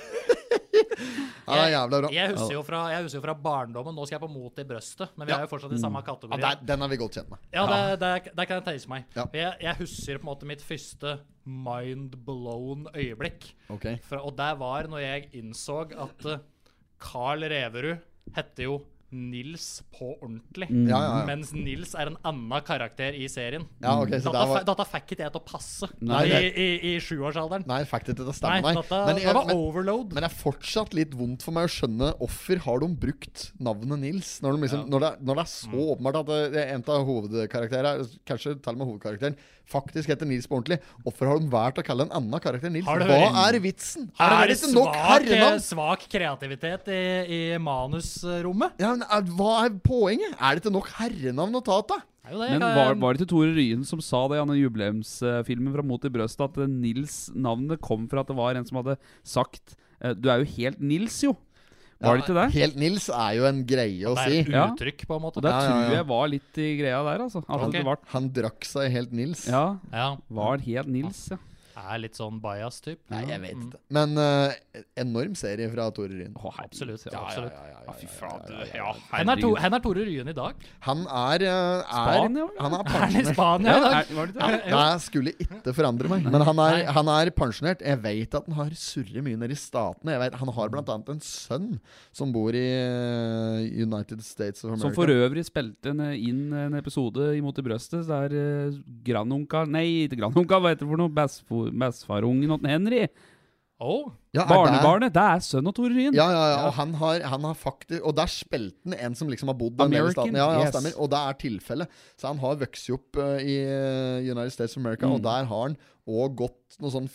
Ja, det er jævla bra.
Jeg husker, jo fra, jeg husker jo fra barndommen. Nå skal jeg på Mot i brøstet, men vi
Ja.
er jo fortsatt i samme
Mm. Ja,
kategori.
der, den er vi godt kjent med.
Ja, det, det, det kan jeg tenke meg.
Ja.
Jeg, jeg husker på en måte mitt første mind-blown øyeblikk.
Ok.
Fra, og det var når jeg innså at eh, Carl Reverud hette jo Nils på ordentlig.
Mm. Ja, ja, ja.
Mens Nils er en annen karakter i serien.
ja ok, så
Dette
der var
fe- dette fikk ikke jeg til å passe
Nei,
i,
det-
i, i sjuårsalderen.
Nei, faktisk, dette
Nei,
stemmer, nei.
dette,
Men,
det
jeg,
var
men,
overload.
men det er fortsatt litt vondt for meg å skjønne hvorfor har de brukt navnet Nils? Når, de liksom, når, det, er- når det er så
Mm.
åpenbart at det- det er en av hovedkarakterene, kanskje til og med hovedkarakteren, faktisk heter Nils på ordentlig, hvorfor har de valgt å kalle en annen karakter Nils?
Har det
Hva
vært-
er vitsen?
Har
Er
det vært
det ikke nok
svak, eh,
herrenavn?
svak kreativitet i, i manusrommet?
Ja, men, er, hva er poenget? Er det ikke nok herrenavn å ta av?
Det er jo det, jeg
Men
kan-
var, var det ikke Tore Ryen som sa det i denne jubileumsfilmen fra Mot i brøstet, at eh, Nils-navnet kom fra at det var en som hadde sagt eh, Du er jo helt Nils, jo. Var det ikke det?
Helt Nils er jo en greie å
det er
si.
et
Ja.
uttrykk, på en måte.
Og det
Ja, ja, ja.
tror jeg var litt i greia der, altså. At
Ok.
det var,
Han drakk seg helt Nils.
ja,
Ja.
var helt Nils, ja.
Er litt sånn bias typ
Nei, jeg vet
Mm.
ikke. Men eh, enorm serie fra Tore Ryen.
Å, herregud,
Absolutt.
ja.
absolutt.
Fy fader. Ja,
Hen er, to,
herregud.
hen er Tore Ryen i dag?
Han er, eh,
Spania,
er
vel?
Er
Han er
han i
pensjonert.
Spania
Ja,
i dag?
er- var det det?
Nei, jeg skulle ikke forandre meg. Men han er, han er pensjonert. Jeg vet at han har surret mye nede i statene. Jeg vet, han har blant annet en sønn som bor i eh, United States of America.
Som for øvrig spilte en, eh, inn en episode imot i brøstet der eh, grandonka Nei, ikke grandonka, hva heter det for noe? Bestfo- Bestfarungen til Henry.
Oh.
ja, er det-
Barnebarnet. Det er sønn av Tore Ryen.
Ja, ja, ja. Og han har, han har faktisk Og der spilte han en som liksom har bodd der nede i
American,
staten. Ja, ja,
yes.
stemmer. Og det er tilfellet. Så han har vokst opp eh, i eh, United States of America,
Mm.
og der har han òg gått noe sånn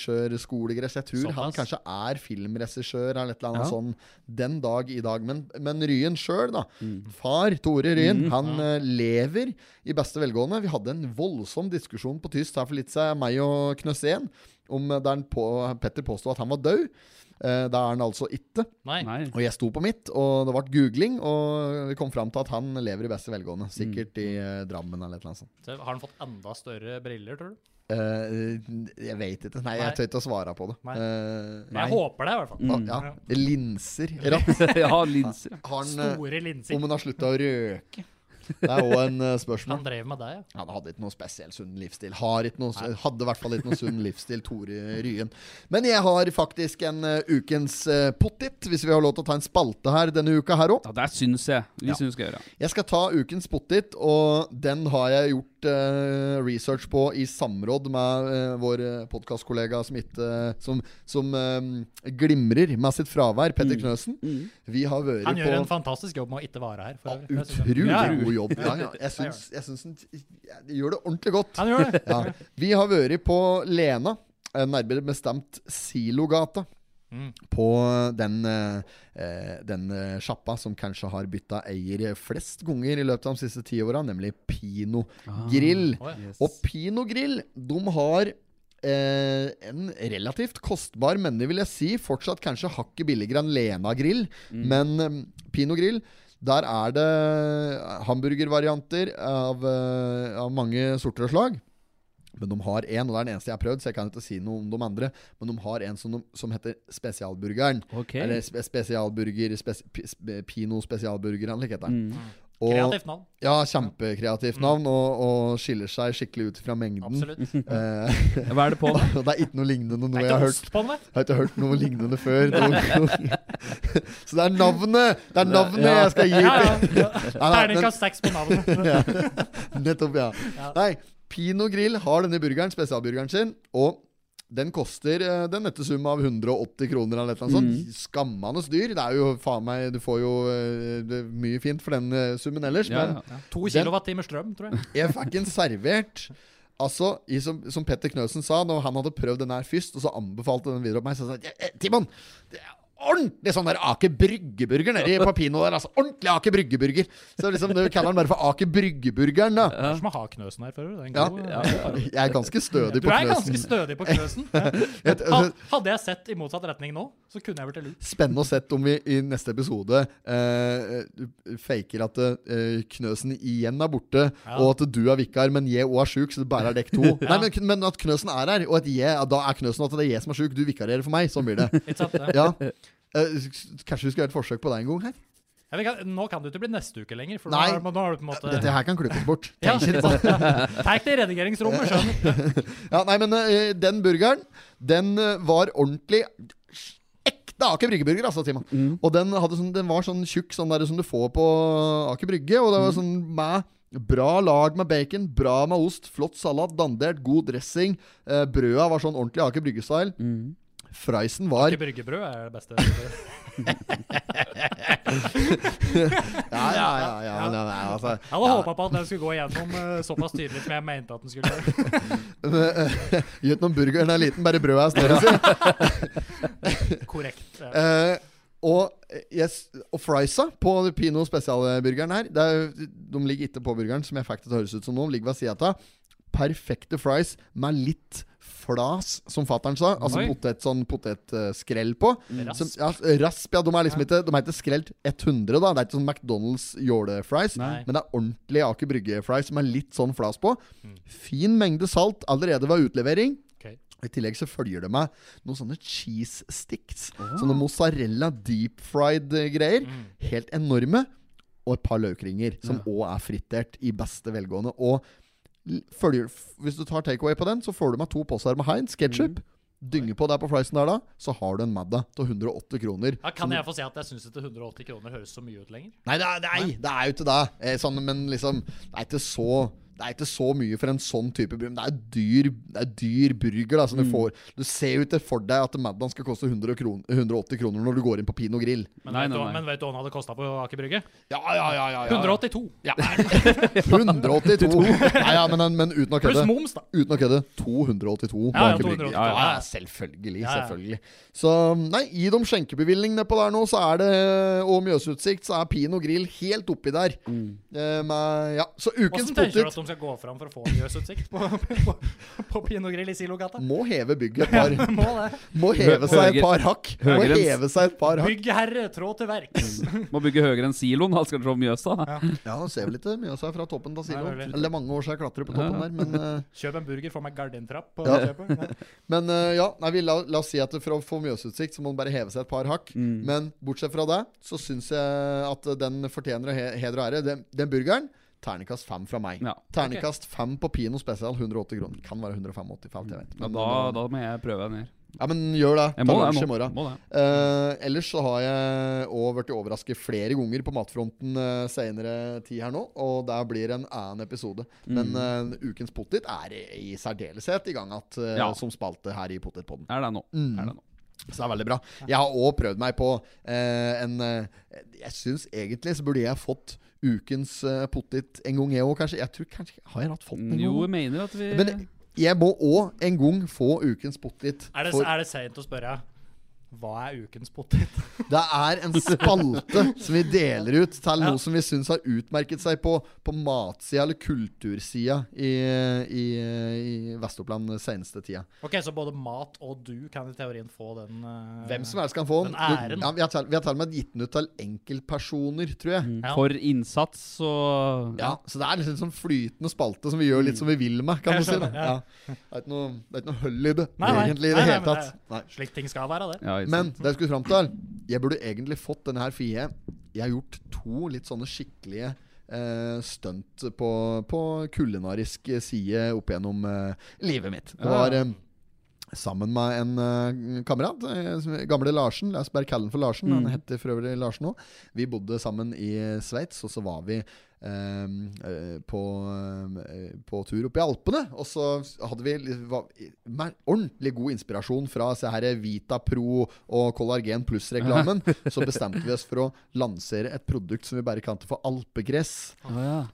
filmregissørskolegreier. Så jeg tror han
Såpass.
kanskje er filmregissør eller et eller annet
Ja.
sånn den dag i dag. Men, men Ryen sjøl, da.
Mm.
Far Tore Ryen, han eh, lever i beste velgående. Vi hadde en voldsom diskusjon på tyst her for litt siden, meg og Knøsén, om eh, der han på, Petter påsto at han var død. Eh, det er han altså ikke.
Nei.
Nei.
Og jeg sto på mitt, og det ble googling, og vi kom fram til at han lever i beste velgående. Sikkert i eh, Drammen eller et eller annet sånt.
Så har han fått enda større briller, tror du?
Eh, jeg vet ikke.
Nei.
Nei, jeg tør ikke å svare på det.
Nei.
Eh,
Men jeg håper Mm. det, i hvert fall.
hva- Mm. ja. Linser. Ratt.
ja, linser. ja.
Har han, eh,
Store linser.
om han har slutta å røke. Det er òg en eh, spørsmål.
Han drev med deg, ja.
Han hadde ikke noe spesiell sunn livsstil. Har ikke noe, hadde i hvert fall ikke noe sunn livsstil, Tore Ryen. Men jeg har faktisk en eh, ukens uh, pottit, hvis vi har lov til å ta en spalte her denne uka her òg.
Ja, det syns jeg vi syns vi skal gjøre.
Jeg skal ta ukens pottit, og den har jeg gjort eh, research på i samråd med eh, vår uh, podkastkollega som, ikke- som, som eh, glimrer med sitt fravær, Petter Knøsen. Vi har vært
Han gjør
på
en fantastisk jobb med å ikke være her. for øvrig. Det synes jeg.
Utrolig
Ja, ja.
god jobb. Ja, ja. Jeg syns, jeg syns den jeg gjør det ordentlig godt.
Han gjør det.
Ja. Vi har vært på Lena, eh, nærmere bestemt Silogata.
Mm.
På den, eh, eh, den eh, sjappa som kanskje har bytta eier flest ganger i løpet av de siste ti åra, nemlig Pino Grill.
Å, ja.
Og Pino Grill, de har eh, en relativt kostbar, men det vil jeg si fortsatt kanskje hakket billigere enn Lena Grill. Men eh, Pino Grill, der er det hamburgervarianter av, eh, av mange sorter og slag. Men de har en, og det er den eneste jeg har prøvd, så jeg kan ikke si noe om de andre. Men de har en som, de, som heter Spesialburgeren.
Ok.
Eller spe spesialburger, spes p- Pino Spesialburger, eller hva heter den.
Mm.
Og-
Kreativt navn.
ja, kjempekreativt navn, og, og skiller seg skikkelig ut fra mengden.
Mm. Absolutt. Det
Eh,
Hva er det på? da?
og det er ikke noe lignende noe
er
jeg har
ikke
hørt.
ost på den, vet du.
Jeg har ikke hørt noe lignende før. noen gang. Så det er navnet Det er navnet
ja.
jeg skal gi
Ja,
til
ja.
Nei, nei, men-
Terningkast seks på navnet.
Nettopp, ja.
Ja.
Nei, Pino Grill har denne burgeren, spesialburgeren sin, og den koster eh, den nette sum av 180 kroner eller noe sånt.
Mm.
Skammende dyr. Det er jo faen meg Du får jo eh, det er mye fint for den eh, summen ellers,
Ja,
men
ja, ja.
To kilowattimer strøm, tror jeg.
Jeg fikk en servert Altså, i, som, som Petter Knøsen sa Når han hadde prøvd den her først Og så anbefalte den videre opp meg Så sa han «Eh, eh, Timon, det er ordentlig sånn der Ake Bryggeburger Nede i Papino der Altså, ordentlig Ake Bryggeburger Så liksom, det kaller han bare for Ake Bryggeburgeren da
Det er som å ha knøsen her, føler du. Det er en
Ja.
god-
Jeg er ganske stødig
Du
på
er ganske
Knøsen altså-
stødig på knøsen. Ja.
Et-
Ha- Hadde jeg sett i motsatt retning nå, så kunne jeg blitt lurt.
Spennende å sett om vi i neste episode eh, faker at eh, Knøsen igjen er borte,
Ja.
og at du er vikar, men jeg òg er sjuk, så det bare er dekk to. Nei, men, men at Knøsen er her, og at jeg, ja, da er Knøsen at det er jeg som er sjuk, du vikarierer for meg. Sånn blir det.
Ikke sant? Ja.
Ja. Eh, s- kanskje vi skal gjøre et forsøk på det en gang her?
Ja, vi kan, nå kan det jo ikke bli neste uke lenger, for nå
Nei.
er, nå er det på en måte
Dette her kan klippes bort.
Ja, Tenk det i redigeringsrommet, skjønner du.
Ja, nei, men eh, den burgeren, den eh, var ordentlig ekte Aker Brygge-burger, altså, Timon. Og den, hadde sånn, den var sånn tjukk sånn der, som du får på Aker Brygge, og det var sånn med Bra lag med bacon, bra med ost, flott salat, dandert, god dressing. Eh, brøda var sånn ordentlig Aker Brygge-style. Freisen var
Ikke bryggebrød er det beste. Ja,
Ja, ja, ja. ja, ja, ja, ja altså,
Jeg hadde håpa på at den skulle gå igjennom eh, såpass tydelig som jeg mente at den skulle gjøre.
Gjør ikke noe burgeren er liten, bare brødet er større.
Korrekt. eh.
Eh, og, eh, yes, og friesa på Pino spesialburgeren her det er, jo- De ligger ikke på burgeren, som jeg fikk det til å høres ut som nå. De ligger ved sida av. Perfekte fries med litt flas, som fatter'n sa. Altså
Oi.
potet, sånn potetskrell på.
Rasp.
Som, ja, rasp, ja. De er liksom ikke, de er ikke skrelt 100, da. Det er ikke sånn McDonald's jålefries.
Nei.
Men det er ordentlig Aker Brygge-fries som er litt sånn flas på.
Mm.
Fin mengde salt allerede ved utlevering.
Ok.
I tillegg så følger det med noen sånne cheese sticks. Sånne mozzarella deep fried eh, greier. Helt enorme. Og et par løkringer, som òg er fritert i beste velgående. Og l- følger, f- hvis du tar takeaway på den, så får du med to poser med Heinz ketchup. Dynger på der på frysen der, da, så har du en Madda til 108 kroner.
Ja, kan jeg få si at jeg syns ikke 180 kroner høres så mye ut lenger?
Nei, det er, nei, det er jo ikke det. Eh, sånn, men liksom, det er ikke så det er ikke så mye for en sånn type burger. Men det er dyr, det er dyr burger. da, som du får. Du ser jo ikke for deg at Maddan skal koste 100 kron, 180 kroner når du går inn på Pino Grill.
Men,
Nei,
vet, du,
nei, nei.
men vet du hva den hadde kosta på Aker Brygge?
Ja, ja, ja. ja,
182.
182! Nei, ja, men, men uten å
Pluss
kødde.
moms, da.
Uten å kødde 282.
Ja, ja,
bak i
282,
brygga. Ja, ja,
ja, ja.
selvfølgelig.
Ja, ja.
selvfølgelig Så nei, gi dem skjenkebevilgning nedpå der nå, så er det eh, og Mjøsutsikt, så er Pino Grill helt oppi der. Eh, med, ja. Så ukens
Mm. Hvordan tenker du
potet
at de skal gå fram for å få jøsutsikt på, på, på Pinot Grill i Silogata?
må heve bygget et par.
Må det.
Må heve seg et
Høyere-
par hakk. Må
høyere enn-
heve seg et par hakk.
Bygg herre, trå til verks.
Må bygge høyere enn siloen, da skal du se Mjøsa.
Ja, det ser vel ikke mye av seg fra toppen, da, sier
Nei,
hun.
veldig.
Eller det er mange år siden jeg klatrer på toppen der, men eh,
Kjøp en burger, få meg gardintrapp. På
Ja.
kjøpet. Ja.
Men eh, ja, nei, vi la, la oss si at for å få Mjøsutsikt, så må man bare heve seg et par hakk.
Mm.
Men bortsett fra det, så syns jeg at den fortjener å he heder og ære. Den, den burgeren Ternekast fem fra meg.
Ja.
Ternekast fem på Pino spesial, 180 kroner. Kan være 185, jeg vet.
Ja,
Men,
da,
eh,
da må jeg prøve den her.
ja, men gjør det.
Jeg
Ta
må det,
lunsj i
jeg må,
morgen.
må det.
Eh, ellers så har jeg òg blitt overrasket flere ganger på matfronten uh, seinere tid her nå, og der blir en annen episode. Men
Mm.
eh, ukens potet er i, i særdeleshet i gang igjen
Ja.
som spalte her i Potetpodden.
Er det nå?
Mm.
Er det nå?
Så det er veldig bra. Jeg har òg prøvd meg på eh, en eh, Jeg syns egentlig så burde jeg fått ukens eh, potet en gang, jeg òg, kanskje. Jeg tror kanskje Har jeg hatt fått den en
Jo,
gang?
jeg mener at vi
Men jeg må òg en gang få ukens potet.
Er det,
for-
er det sent å spørre hva er ukens potet?
Det er en spalte som vi deler ut til noe som vi syns har utmerket seg på, på matsida eller kultursida i, i, i Vest-Oppland den seneste tida.
Ok, Så både mat og du kan i teorien få den eh,
Hvem som helst kan få den.
Den æren.
Ja, vi har til- vi har til og med gitt den ut til enkeltpersoner, tror jeg.
Ja.
For innsats og
Ja, Så det er liksom sånn flytende spalte som vi gjør litt som vi vil med, kan
Mm. Jeg
du si. da
skjønner,
ja.
ja.
Det er ikke noe, det er ikke noe hull i det,
Nei, nei.
egentlig,
Nei,
i det
nei,
hele
men
tatt. Nei.
Slik ting skal være, det.
Ja, ikke
Men
sant.
det jeg skulle fram til Jeg burde egentlig fått denne her for jeg, jeg har gjort to litt sånne skikkelige eh, stunt på, på kulinarisk side opp gjennom eh, livet mitt. Det var eh, sammen med en eh, kamerat, eh, som- gamle Larsen. La oss bare kalle han for Larsen.
Mm.
Han heter for øvrig Larsen òg. Vi bodde sammen i Sveits, og så var vi ehm, eh, på, eh, på tur opp i Alpene. Og så hadde vi litt- var, mer- ordentlig god inspirasjon fra se her Vita Pro og Kollagen Pluss-reklamen. Så bestemte vi oss for å lansere et produkt som vi bare kalte for alpegress.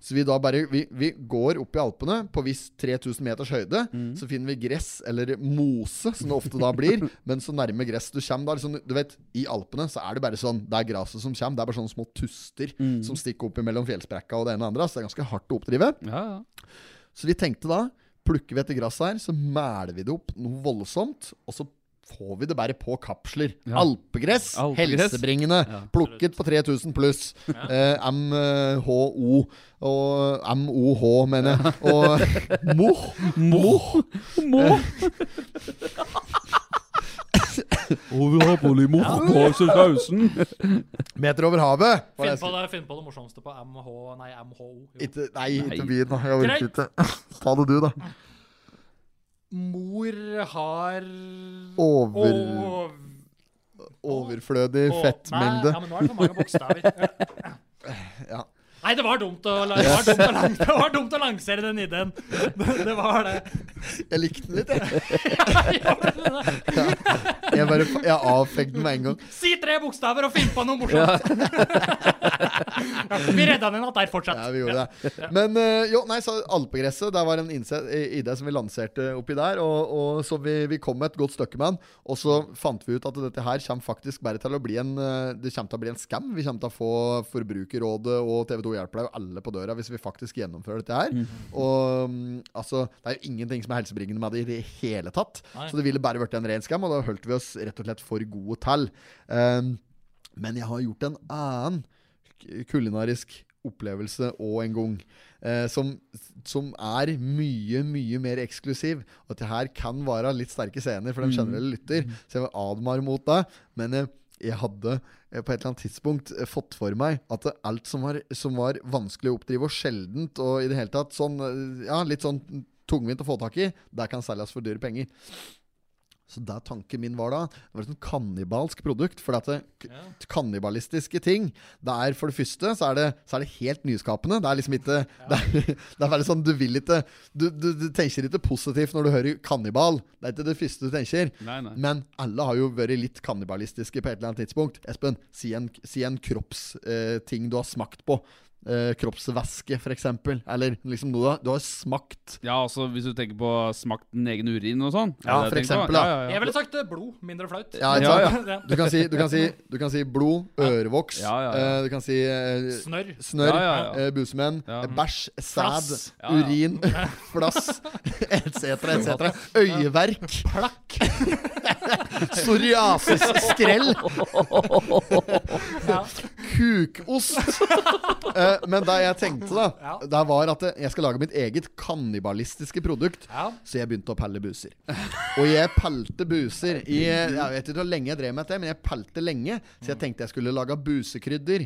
Så vi da bare vi, vi går opp i Alpene på viss 3000 meters høyde. Så finner vi gress, eller mose, som det ofte da blir. men så nærme gress du kommer da liksom, Du vet, i Alpene så er det bare sånn Det er gresset som kommer. Det er bare sånne små tuster som stikker opp mellom fjellsprekka og det ene og det andre. Så det er ganske hardt å oppdrive.
Ja, ja.
Så vi tenkte da Plukker vi etter gresset her, så mæler vi det opp noe voldsomt. Og så får vi det bare på kapsler.
Ja.
Alpegress,
Alpegress.
helsebringende.
Ja.
Plukket på 3000 pluss. Eh, MHO og MOH, mener jeg. Og Moh.
Må! Må! Og vi har polymor på sausen.
Meter over havet. var
Finn
det jeg
på
skulle-
det, finn på det morsomste på MH, nei, MHO. Jo.
Ikke, nei, ikke
Nei.
byen. da. Jeg orker ikke. Ta det du, da.
Mor har
Over,
Over...
overflødig fettmengde.
Nei, ja, men nå er det for mange bokstaver.
Ja.
Nei, det var dumt å, la- det var dumt å, lang, det var dumt å lansere den ideen. Det, det var det.
Jeg likte den litt, jeg.
Gjorde du det?
Jeg, bare, jeg avfegde den med en gang.
Si tre bokstaver og finn på noe morsomt! Ja. vi redda den igjen der. Fortsett.
Ja, vi gjorde det. Men eh, jo, nei, så alpegresset, der var en innse- i- idé som vi lanserte oppi der, og, og så vi, vi kom et godt stykke med den, og så fant vi ut at dette her kommer faktisk bare til å bli en eh, det kommer til å bli en skam. Vi kommer til å få Forbrukerrådet og TV2 Hjelper deg og alle på døra hvis vi faktisk gjennomfører dette her. Og mm, altså, det er jo ingenting som er helsebringende med det i det hele tatt,
Nei.
så det ville bare vært en ren skam, og da holdt vi oss rett og slett for gode til. Um, men jeg har gjort en annen k- kulinarisk opplevelse og en gang. Eh, som, som er mye, mye mer eksklusiv. Og at det her kan være litt sterke scener for den generelle lytter, så jeg vil advare mot det. Men eh, jeg hadde eh, på et eller annet tidspunkt eh, fått for meg at det- alt som var, som var vanskelig å oppdrive og sjeldent, og i det hele tatt sånn, eh, ja, litt sånn tungvint å få tak i, det kan selges for dyre penger. Så der tanken min var da, det var et sånn kannibalsk produkt. For at det, k- kannibalistiske ting Det er for det første så er det, så er det helt nyskapende. Det er liksom ikke det, er, det er bare sånn du vil ikke du, du, du tenker ikke positivt når du hører kannibal. Det er ikke det første du tenker.
Nei, nei.
Men alle har jo vært litt kannibalistiske på et eller annet tidspunkt. Espen, si en, si en kroppsting ting du har smakt på. Eh, kroppsvæske, for eksempel. Eller liksom noe du har, du har smakt.
Ja, altså hvis du tenker på smakt den egen urin og sånn.
Ja,
Er det
for
det jeg tenker på?
eksempel, da.
Ja, ja,
Jeg ville sagt eh, blod. Mindre flaut.
Ja, ikke
Ja,
sant? Du, kan si, du, kan si, du kan si blod, ørevoks,
Ja, ja, ja.
eh, du kan si eh,
Snørr.
Snørr,
Ja, ja, ja.
eh, busemenn,
Ja.
eh, bæsj, sæd,
Flass.
Ja, ja.
urin, flass etc., etc. Øyeverk.
Plakk.
Psoriasis-skrell. Kukost. Eh, Men det jeg tenkte, da,
Ja.
det var at jeg skal lage mitt eget kannibalistiske produkt.
Ja.
Så jeg begynte å pelle buser. Og jeg pelte buser i Jeg vet ikke hvor lenge jeg drev med dette, men jeg pelte lenge. Så jeg
Mm.
tenkte jeg skulle lage busekrydder.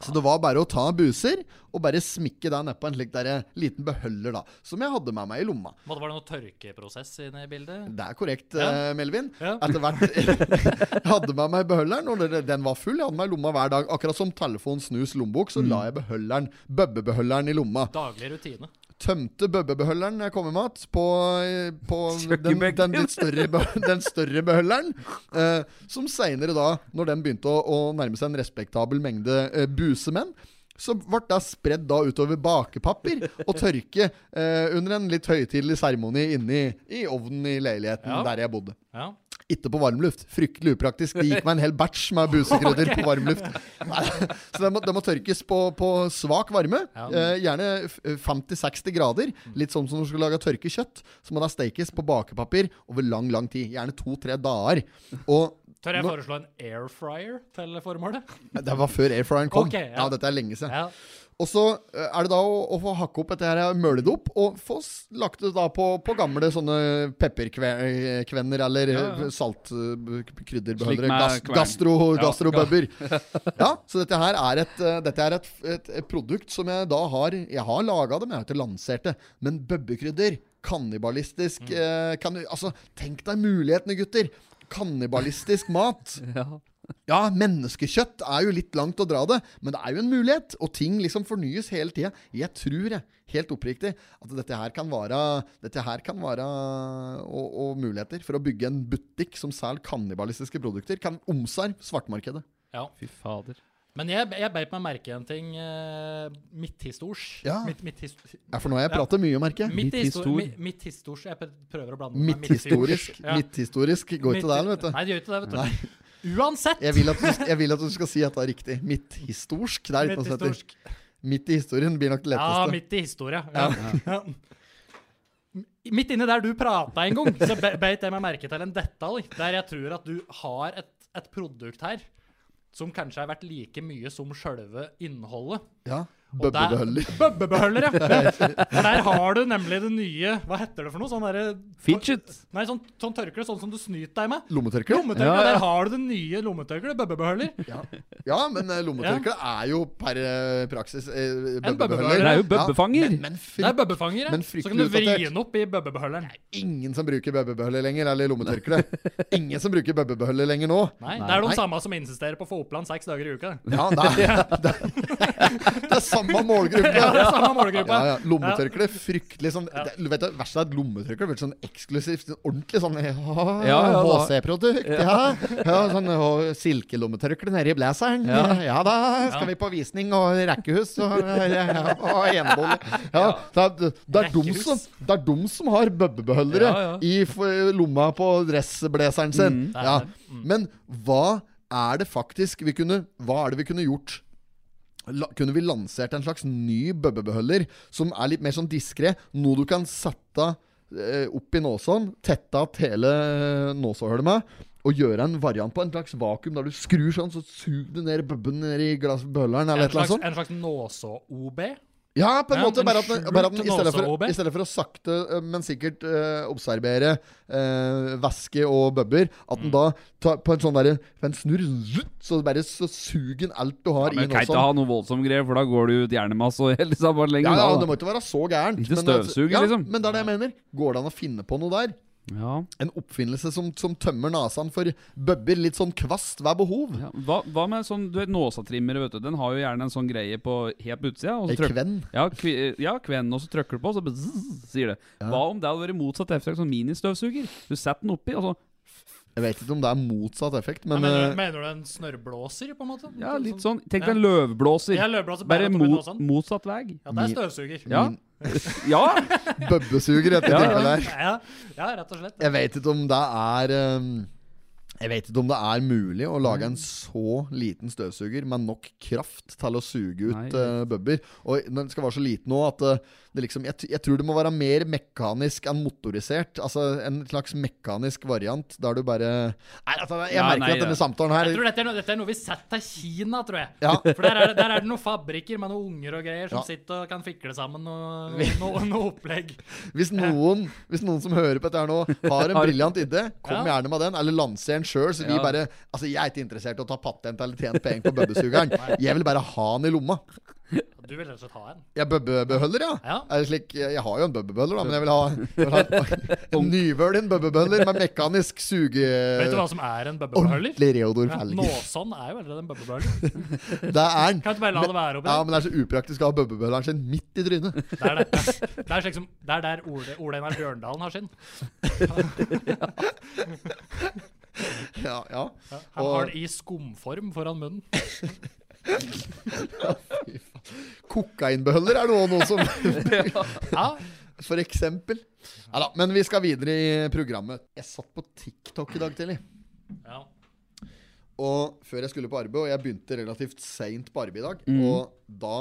Så det var bare å ta buser og bare smikke deg nedpå en slik der eh, liten beholder, da. Som jeg hadde med meg i lomma.
Må det være noe tørkeprosess inne i bildet?
Det er korrekt,
Ja.
eh, Melvin.
Ja.
Etter hvert jeg hadde med meg beholderen, og det- den var full. Jeg hadde meg i lomma hver dag. Akkurat som telefon, snus, lommebok, så
Mm.
la jeg beholderen, bøbbebeholderen i lomma.
Daglig rutine.
Tømte bøbbebeholderen jeg kom med mat, på, på den,
Kjøkkenbenken.
den litt større, be- den større beholderen. Eh, som seinere, da, når den begynte å, å nærme seg en respektabel mengde eh, busemenn, så ble det spredd da utover bakepapir og tørke eh, under en litt høytidelig seremoni inne i, i ovnen i leiligheten
Ja.
der jeg bodde.
Ja.
Ikke på varmluft. Fryktelig upraktisk. Det gikk meg en hel batch med busekrydder på varmluft. Nei, Så det må, det må tørkes på, på svak varme.
Ja.
Eh, gjerne f- 50-60 grader. Litt sånn som når du skal lage tørkekjøtt. Så må det stekes på bakepapir over lang, lang tid. Gjerne to-tre dager. Og
Tør jeg
Nå-
foreslå en air fryer til formålet?
det var før airfryeren kom.
Ok, ja.
ja. dette er lenge siden.
Ja.
Og så eh, er det da å, å få hakke opp dette her, møle det opp, og få s- lagt det da på, på gamle sånne pepperkvenner eller ja.
Slik
saltkrydderbeholdere.
med
Gas,
kvern.
gastro,
Ja.
gastrobubber. ja, så dette her er et, eh, dette er et, et, et produkt som jeg da har Jeg har laga det, men jeg har ikke lansert det. Men bøbbekrydder, kannibalistisk
Mm.
eh, kan, Altså, tenk deg mulighetene, gutter! Kannibalistisk mat. Ja, menneskekjøtt er jo litt langt å dra det, men det er jo en mulighet, og ting liksom fornyes hele tida. Jeg tror, jeg, helt oppriktig, at dette her kan være, dette her kan være og, og muligheter for å bygge en butikk som selger kannibalistiske produkter, kan omsarve svartmarkedet.
ja.
Fy fader.
Men jeg, jeg beit meg merke i en ting eh, midthistors.
Ja.
Midt, midthis-
Ja, for nå har jeg pratet mye, merker jeg.
midt,
Midthistor.
histor, midt histors. Jeg prøver å blande meg.
Midthistorisk. Midthistorisk går ikke det an, vet du.
Nei, det gjør ikke det, vet du. Uansett!
Jeg vil, at du, jeg vil at du skal si at det er riktig. Midthistorsk. Det er litt noe som heter.
Midthistorsk.
Midt i historien blir nok det
Ja,
letteste.
midt i historie. Ja. Midt inni der du prata en gang, så be- beit jeg meg merke til en detalj der jeg tror at du har et, et produkt her som kanskje har vært like mye som sjølve innholdet.
Ja,
Og der-
Bøbbebeholder.
Bøbbebeholder, ja. For der har du nemlig det nye Hva heter det for noe? Sånn derre
Fidget.
Nei, sånn, sånn tørkle, sånn som du snyter deg med.
Lommetørkle.
Lommetørkle,
Ja, ja.
Der har du det nye lommetørkleet. Bøbbebeholder.
Ja, ja men eh, lommetørkle er jo per eh, praksis eh,
bøbbebeholder.
bøbbebeholder.
Det er jo
Ja,
bøbbefanger.
men
Det er
frykt,
bøbbefanger, ja.
Men
Så kan du
fryktelig
vri
utdatert.
den opp i bøbbebeholderen.
ingen som bruker bøbbebeholder lenger, eller lommetørkle. Ingen som bruker bøbbebeholder lenger nå.
Nei, det er de
Nei.
samme som insisterer på å få Oppland seks dager i uka.
Ja, det er, det er, det er samme målgruppe.
Ja, det er samme
Ja,
målgruppa.
ja. Lommetørkle, fryktelig sånn det, Vet du, Verst er at lommetørkle blir sånn eksklusivt. sånn Ordentlig sånn ja,
Ja, ja, da.
HC-produkt. Ja. ja, sånn å, Silkelommetørkle nede i blazeren. Ja. da skal vi på visning og rekkehus og, ja, og enebolig. Ja, det, er, det, er dum
Rekkehus.
som, det er dum som har bøbbebeholdere
Ja, Mm. ja.
i f- lomma på dressblazeren sin.
det er
Ja.
det.
Men hva er det faktisk vi kunne Hva er det vi kunne gjort? La, kunne vi lansert en slags ny bøbbebeholder som er litt mer sånn diskré? Noe du kan sette eh, opp i nåsåen, tette att hele nåsåhølet med, og gjøre en variant på en slags vakuum der du skrur sånn, så suger du ned bøbben ned i
En
glassbølleren eller et eller
slags,
annet sånt.
en slags nåså-OB.
Ja, på en
Ja,
måte.
en
Bare at, den-
skjult
bare at den, i, stedet for,
nåse-OB.
i stedet for å sakte, eh, men sikkert eh, observere eh, væske og bøbber, at
Mm.
den da tar, på en sånn derre på en snurr, zutt, så bare så suger den alt du har
Men
i
kan ikke
nåsen.
ha noe voldsomt greier, for da går du ut hjernemasse og hele sabbaten lenger.
Ja, ja,
da,
det
da.
må ikke være så gærent.
Ikke
men-
støvsuger,
ja,
liksom.
Men det er det jeg mener. Går det an å finne på noe der?
Ja.
En oppfinnelse som, som tømmer nesen for bøbber, litt sånn kvast ved behov?
Ja. Hva, hva med sånn Du vet nåsatrimmere, vet du. Den har jo gjerne en sånn greie på helt på utsida. Og
Ei
så trykker
kvenn?
ja, kvi, ja, kvenn, og så trykker du på, og så bare zzz, sier det. Hva om det hadde vært motsatt effekt, sånn ministøvsuger? Du setter den oppi, og så
Jeg vet ikke om det er motsatt effekt, men
mener,
eh,
du, mener du en snørrblåser, på en måte?
Ja, litt sånn.
Ja.
Tenk deg en løvblåser.
sånn-
Ja, løvblåser
Bare
altså bare mot,
mot,
nåsen.
motsatt vei.
Ja, det er støvsuger.
Ja. ja.
bøbbesuger etter
Ja, ja.
tilfellet her.
Ja, ja, rett og slett.
Jeg vet ikke om det er um, Jeg vet ikke om det er mulig å lage en så liten støvsuger med nok kraft til å suge
Nei, jeg
ut uh, bøbber. Og den skal være så liten nå at eh, det liksom jeg, t- jeg tror det må være mer mekanisk enn motorisert. Altså en slags mekanisk variant der du bare Nei, altså, jeg
Ja,
merker
nei,
at denne
det-
samtalen
Jeg
her
tror dette er, noe, dette er noe vi setter til Kina, tror jeg.
Ja.
For der er, det, der er det noen fabrikker med noen unger og greier som
Ja.
sitter og kan fikle sammen noe, noe, noe opplegg.
Hvis noen, hvis noen som hører på dette her nå, har en
Har-
briljant idé, kom
Ja.
gjerne med den. Eller lanser den sjøl, så vi
Ja.
bare Altså, jeg er ikke interessert i å ta patent eller tjene penger på bøbbesugeren. Jeg vil bare ha den i lomma.
Du vil rett og slett ha en.
Ja, bøbbebøller, ja.
Ja.
Er det slik, jeg har jo en bøbbebøller, da, men jeg vil ha, jeg vil ha en nyvølen bøbbebøller med mekanisk suge...
Vet du hva som er en bøbbebøler?
Eh, Ordentlig Reodor
Ja,
Felger.
Nåsånn er jo allerede en bøbbebøller.
Det er den.
Kan ikke bare la det være oppi
Ja,
der.
men det er så upraktisk å ha bøbbebølleren sin midt i trynet.
Det er, det. Det er, slik som, det er der Ole, Ole Einar Bjørndalen har sin.
Ja, ja.
Ja, Han
Og-
har den i skumform foran munnen.
Kokainbøller er det også noe som
Ja,
For eksempel. Ja da, men vi skal videre i programmet. Jeg satt på TikTok i dag tidlig.
ja.
Og før jeg skulle på arbeid, og jeg begynte relativt seint på arbeid i dag,
Mm.
og da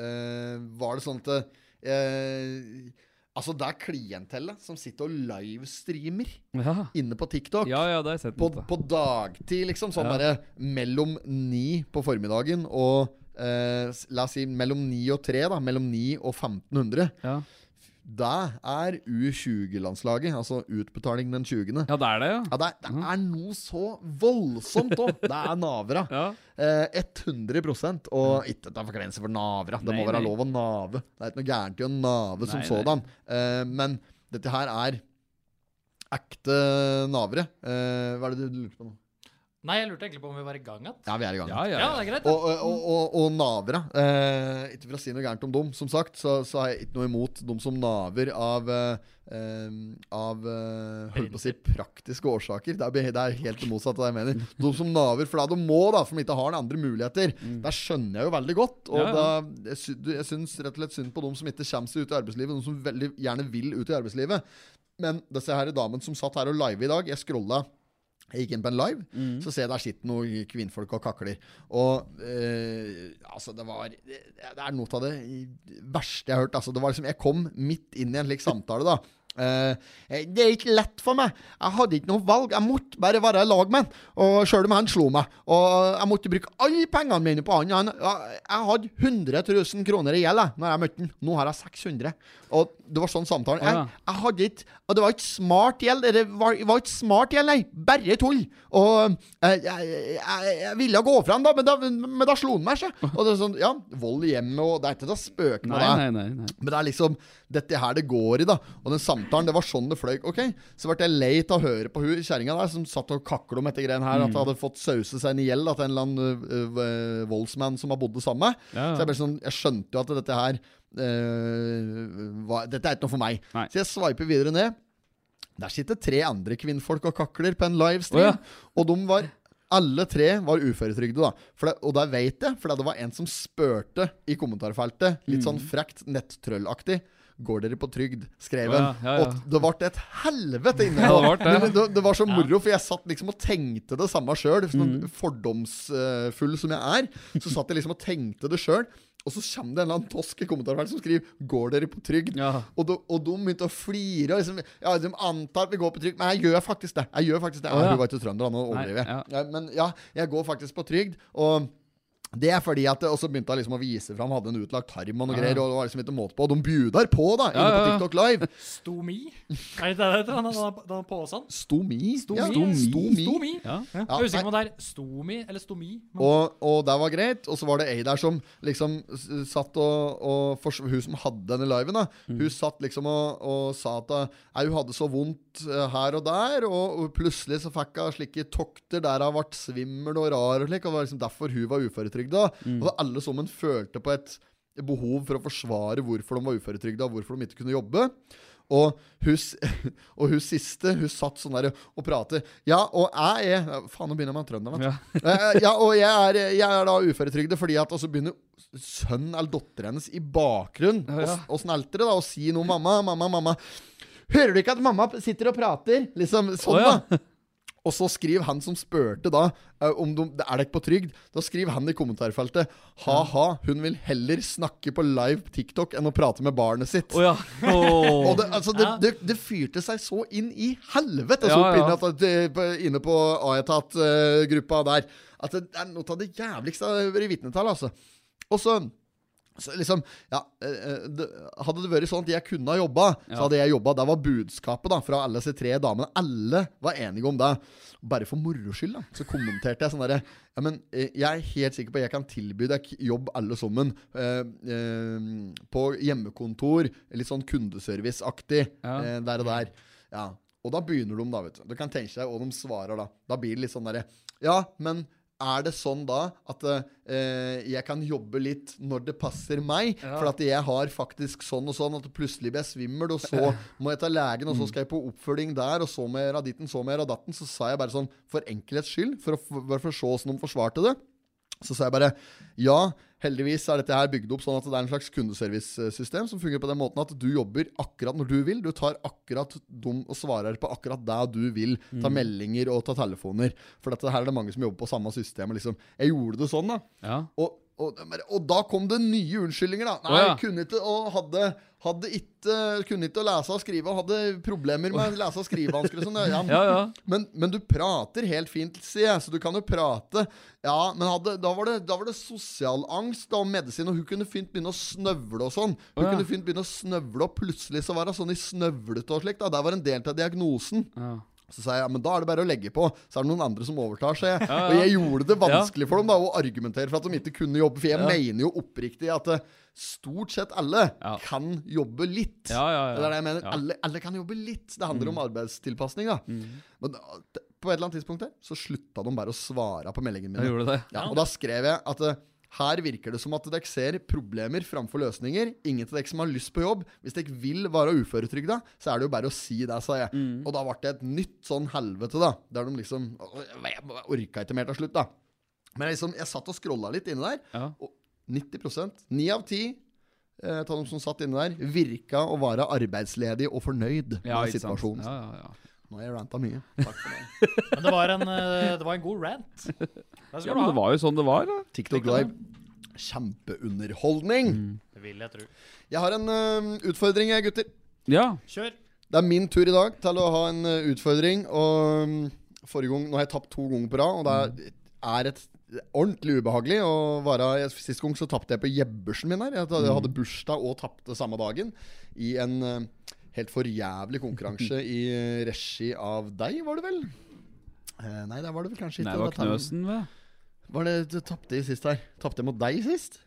eh, var det sånn at eh, Altså, det er klientellet som sitter og livestreamer
Ja,
inne på TikTok.
ja, ja det har jeg sett.
På,
litt, da.
på dagtid, liksom. Sånn
Ja.
bare mellom ni på formiddagen og eh, s- La oss si mellom ni og tre, da. Mellom ni og 1500.
Ja.
Det er U20-landslaget, altså utbetaling den 20.
ja, det er det, ja.
Ja, det, er, det er noe så voldsomt òg! Det er navra.
ja.
Eh, 100 Og ikke ta forkleinelse for navra. Det
Nei,
må være
nei.
lov å nave. Det er ikke noe gærent i å nave
Nei,
som
nei.
sådan. Eh, men dette her er ekte navre. Eh, hva er det du lurte på nå?
Nei, jeg lurte egentlig på om vi var i gang igjen.
Ja, vi er i gang.
Ja, ja,
Ja,
ja.
det er greit.
Og, og, og, og, og navere. Eh, ikke for å si noe gærent om dem, som sagt, så, så har jeg ikke noe imot dem som naver av eh, eh, Av eh, holdt på å si praktiske årsaker. Det er, be- det er helt det motsatte av det jeg mener. De som naver fordi de må, da, for de ikke har noen andre muligheter. Det skjønner jeg jo veldig godt. Og
Mm. Ja, ja.
da, jeg, sy du- jeg syns rett og slett synd på dem som ikke kommer seg ut i arbeidslivet, de som veldig gjerne vil ut i arbeidslivet. Men disse her damene som satt her og live i dag, jeg scrolla jeg gikk inn på en live, så ser jeg der sitter noen kvinnfolk og kakler. Og eh, altså, det var Det det er noe av det verste jeg har hørt. Altså, det var liksom Jeg kom midt inn i en slik samtale, da. Eh, det er ikke lett for meg. Jeg hadde ikke noe valg. Jeg måtte bare være i lag med han. Og sjøl om han slo meg. Og jeg måtte bruke alle pengene mine på han. han jeg- jeg hadde 100 000 kroner i gjeld jeg, når jeg møtte han. Nå har jeg 600. Og det var sånn samtalen.
Ja.
Jeg, jeg hadde ikke Og det var ikke smart gjeld. Det var, var ikke smart gjeld, nei. Bare tull. Og eh, jeg, jeg, jeg ville gå fra han, da, men da, men da slo han meg, sjø. Og det er sånn, ja, vold i hjemmet, og det er ikke til å spøke med
Nei,
det.
nei, nei. nei.
Men det er liksom dette her det går i, da. Og den samtalen, det var sånn det fløy. Ok, Så ble jeg lei av å høre på hun kjerringa der som satt og kakla om dette greiene her.
Mm.
At hun hadde fått sause seg inn i gjeld da, til en eller annen øh, øh, voldsmann som har bodd det samme.
Ja, ja.
Så jeg ble sånn, jeg skjønte jo at dette her øh, var, Dette er ikke noe for meg.
Nei.
Så jeg sveiper videre ned. Der sitter tre andre kvinnfolk og kakler på en livestream.
Å,
Og de var alle tre var uføretrygde, da. For det, og det vet jeg, for det var en som spurte i kommentarfeltet, litt
Mm.
sånn frekt nettrøllaktig. Går dere på trygd? skrev han.
Å, ja, ja, ja.
Og det ble et helvete inne.
Ja, det ble det.
Men det, det var så moro, for jeg satt liksom og tenkte det samme sjøl. Sånn
Mm.
fordomsfull som jeg er, så satt jeg liksom og tenkte det sjøl. Og så kommer det en eller annen tosk i kommentarfeltet som skriver 'Går dere på trygd?'
Ja.
Og, de, og de begynte å flire. Og liksom, ja, de antar at vi går på trygd, men jeg gjør faktisk det. Jeg gjør faktisk det.
Å, ja.
Hun var ikke trønder, da, nå overdriver jeg.
Nei, ja.
Ja, men ja, jeg går faktisk på trygd. Og det er fordi at Og så begynte jeg liksom å vise fram, hadde en utlagt tarm og noe greier. Og det var liksom ikke måte på Og de bjudar på, da, inne
Ja,
på
ja, ja.
TikTok Live.
Stomi. Er det det det heter? Han har- han har påsen.
Stomi. Ja.
Stomi.
Stomi.
Stomi.
Ja.
Jeg
Ja,
er usikker
nei.
på om det er stomi eller stomi. Men
Og, og det var greit. Og så var det ei der som liksom s- satt og, og fors- Hun som hadde denne liven, da. Hun satt liksom og, og sa at eh, hun hadde så vondt eh, her og der, og, og plutselig så fikk hun slike tokter der hun ble svimmel og rar og slik, og det var liksom derfor hun var uføretrygda. Og alle sammen følte på et behov for å forsvare hvorfor de var uføretrygda, og hvorfor de ikke kunne jobbe. Og hun, s- og hun siste, hun satt sånn der og pratet. Ja, og jeg er Faen, nå begynner jeg med en trønder, vet du.
Ja.
Eh, ja, og jeg er, jeg er da uføretrygdet fordi at Og så begynner sønnen eller datteren hennes i bakgrunnen
Ja, ja.
å, å sneltre da, og si noe 'mamma, mamma, mamma'. Hører du ikke at mamma sitter og prater? Liksom sånn,
Å, ja.
da. Og så skriver han som spurte da eh, om de, Er dere på trygd? Da skriver han i kommentarfeltet Ha-ha, hun vil heller snakke på live TikTok enn å prate med barnet sitt.
Å ja. Å.
Og det, altså, det, det, det fyrte seg så inn i helvete så
Ja,
opp
ja.
inne, at det, på, inne på Aetat-gruppa der at det er noe av det jævligste jeg har vært vitne til. Altså. Og så så liksom, ja, eh, eh, det- Hadde det vært sånn at jeg kunne ha jobba, så hadde jeg jobba. Det var budskapet da fra alle disse tre damene. Alle var enige om det. Bare for moro skyld da så kommenterte jeg sånn derre ja, men eh, Jeg er helt sikker på at jeg kan tilby deg jobb alle sammen. eh, eh, på hjemmekontor, litt sånn kundeserviceaktig
Ja.
eh, der og der. Ja, Og da begynner de, da. vet Du Du kan tenke deg hva de svarer da. Da blir det litt sånn derre Ja, men er det sånn da at eh, jeg kan jobbe litt når det passer meg? For at jeg har faktisk sånn og sånn at plutselig blir jeg svimmel, og så må jeg ta legen, og så skal jeg på oppfølging der, og så må jeg gjøre ditten, så må jeg gjøre datten. Så sa jeg bare sånn, for enkelhets skyld, for å f- bare for å se åssen de forsvarte det, så sa jeg bare ja. Heldigvis er dette her bygd opp sånn at det er en slags kundeservicesystem som fungerer på den måten at du jobber akkurat når du vil. Du tar akkurat dum og svarer på akkurat det du vil.
Mm.
Ta meldinger og ta telefoner. For dette her er det mange som jobber på samme system. og Liksom. Jeg gjorde det sånn, da.
ja.
Og, og, og da kom det nye unnskyldninger, da. Nei,
Å, ja.
kunne ikke og hadde, hadde ikke Kunne ikke å lese og skrive, og hadde problemer med å lese og skrivevansker og sånn. Ja, men-
Ja, ja.
Men, men du prater helt fint, sier jeg, så du kan jo prate. Ja, men hadde, da, var det, da var det sosial angst da, og medisin, og hun kunne fint begynne å snøvle og sånn. Hun
Å, ja.
kunne fint begynne å snøvle, og plutselig så var hun sånn i snøvlete og slikt. da. Det var en del av diagnosen.
Ja.
Så sa jeg ja, men da er det bare å legge på. Så er det noen andre som overtar. Så jeg, og jeg gjorde det vanskelig for dem da å argumentere for at de ikke kunne jobbe. For jeg mener jo oppriktig at eh, stort sett alle
Ja.
kan jobbe litt.
Ja, ja, ja.
Det er det jeg mener.
Ja. Mm.
Alle, alle kan jobbe litt. Det handler om arbeidstilpasning. da Men da- t- på et eller annet tidspunkt der, så slutta de bare å svare på meldingene
Jeg
mine.
gjorde det.
Ja, og da skrev jeg at eh, her virker det som at dere ser problemer framfor løsninger. Ingen av dere som har lyst på jobb. Hvis dere vil være uføretrygda, så er det jo bare å si det, sa jeg.
Mm.
Og da ble det et nytt sånn helvete, da. Der de liksom Å, Jeg orka ikke mer til slutt, da. Men jeg, liksom, jeg satt og scrolla litt inni der,
Ja.
og 90 ni av ti eh, av dem som satt inne der, virka å være arbeidsledig og fornøyd
Ja,
med
ikke sant.
situasjonen.
Ja, ja, ja.
Nå har jeg ranta mye. Takk for det.
Men det var en, eh, det var en god rant. Det skal
ja,
du
men det
ha.
var jo sånn det var. da.
TikTok Live. Kjempeunderholdning.
Mm.
Det vil jeg tro.
Jeg har en ø, utfordring, jeg, gutter.
Ja.
Kjør.
Det er min tur i dag til å ha en ø, utfordring. Og ø, forrige gang, Nå har jeg tapt to ganger på rad, og det er,
Mm.
er et det er ordentlig ubehagelig å være jeg- Sist gang så tapte jeg på jebbersen min her. Jeg hadde-
Mm.
hadde bursdag og tapte samme dagen i en ø, helt forjævlig konkurranse i ø, regi av deg, var det vel? Eh, nei, der var det vel kanskje ikke.
Nei, det var
Dette er-
Knøsen, det.
Var det du tapte i sist her? Tapte jeg mot deg sist?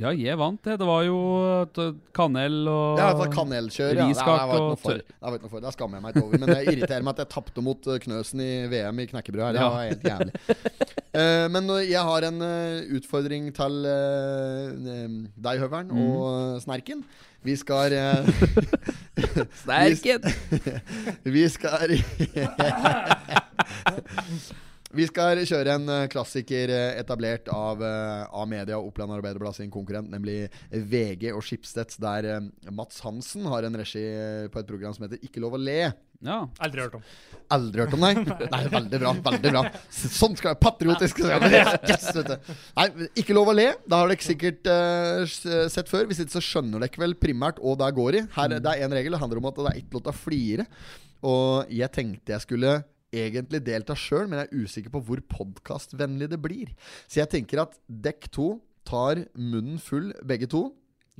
Ja, jeg vant, det. Det var jo t- kanel og
Ja, for kanelkjør. Ja. Nei,
Riskake
jeg var ikke
og
noe for.
tørr.
Jeg var ikke noe for. Det skammer jeg meg ikke over. Men jeg irriterer meg at jeg tapte mot eh, Knøsen i VM i knekkebrød. her. Det
Ja.
var helt jævlig. Eh, men eh, jeg har en eh, utfordring til eh, eh, deg, Høveren,
Mm.
og eh, Snerken. Vi skal eh,
Sterken!
Vi skal Vi skal kjøre en eh, klassiker eh, etablert av eh, A-media og Oppland Arbeiderblad sin konkurrent, nemlig VG og Schibsteds, der eh, Mats Hansen har en regi eh, på et program som heter Ikke lov å le.
Ja.
Aldri hørt om.
Aldri hørt om deg? Nei, veldig bra. veldig bra Sånn skal jeg patriotisk yes, vet du. Nei, Ikke lov å le. Det har dere sikkert eh, s- sett før. Hvis ikke så skjønner dere vel primært hva det går i. Her, det er én regel. Det handler om at det er ikke lov til å flire. Og jeg tenkte jeg skulle egentlig delta sjøl, men jeg er usikker på hvor podkastvennlig det blir. Så jeg tenker at dekk to tar munnen full, begge to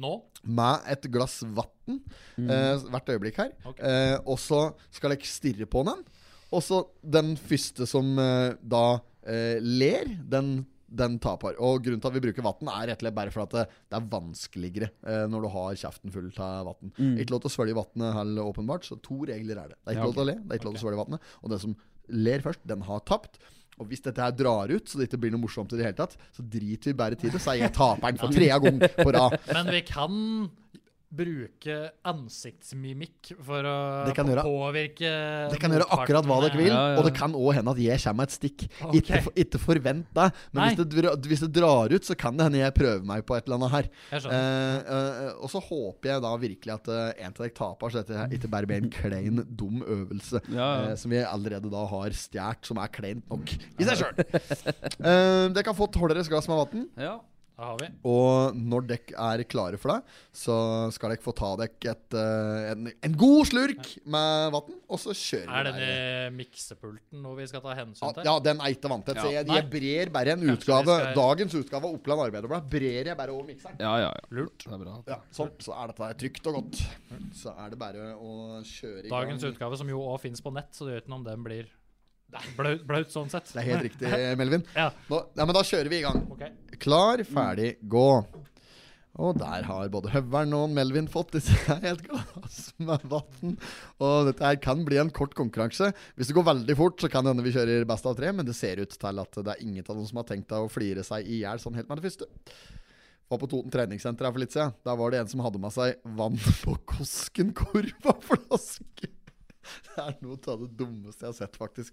Nå?
med et glass vann eh, hvert øyeblikk her.
Ok.
Eh, og så skal jeg stirre på den. Og så den første som eh, da eh, ler, den, den taper. Og grunnen til at vi bruker vann, er rett og slett bare for at det, det er vanskeligere eh, når du har kjeften full av vann. Ikke lov til å svelge vannet heller, åpenbart, så to regler er det. Det er ikke
Ja,
lov til å le, det er ikke lov til å svelge vannet. Og den som ler først, den har tapt. Og hvis dette her drar ut, så det ikke blir noe morsomt i det hele tatt, så driter vi bare i det, så er jeg taperen for tredje gang på rad.
Men vi kan bruke ansiktsmimikk for å
Det kan gjøre-
påvirke
Det kan gjøre akkurat hva dere vil,
Ja, ja.
og det kan òg hende at jeg kommer med et stikk.
Ok.
Ikke, for- ikke forvent det, men
Nei.
hvis det, dra, hvis det drar ut, så kan det hende jeg prøver meg på et eller annet her.
Jeg skjønner.
Eh, eh, og så håper jeg da virkelig at eh, en av dere taper, så dette ikke bare blir en klein, dum øvelse
Ja, ja.
eh, som vi allerede da har stjålet, som er kleint nok i seg sjøl. uh, dere har fått holderes glass med vann,
Ja.
Da har vi.
og når dere er klare for det, så skal dere få ta dere et, eh, en, en god slurk med vann, og så kjører
Er
vi
denne miksepulten noe vi skal ta hensyn til?
Ja, den er ikke vanntett. Så
Ja.
jeg, jeg brer bare en
Kanskje
utgave.
vi skal-
Dagens utgave av Oppland Arbeiderblad brer jeg bare over mikseren.
Ja, ja, ja.
Lurt.
Det er bra.
Ja, sånn, så er dette trygt og godt. Så er det bare å kjøre i gang.
Dagens utgave, som jo òg fins på nett, så det gjør ikke noe om den blir blaut, blaut sånn sett.
Det er helt riktig, Melvin.
Ja.
Nå, nei, men da kjører vi i gang.
Ok.
Klar, ferdig, gå. Og der har både Høveren og Melvin fått disse her i et glass med vann. Og dette her kan bli en kort konkurranse. Hvis det går veldig fort, så kan det hende vi kjører best av tre, men det ser ut til at det er ingen av dem som har tenkt å flire seg i hjel sånn helt med det første. Var på Toten treningssenter her for litt siden. Der var det en som hadde med seg vann på Koskenkorva flaske. Det er noe av det dummeste jeg har sett, faktisk.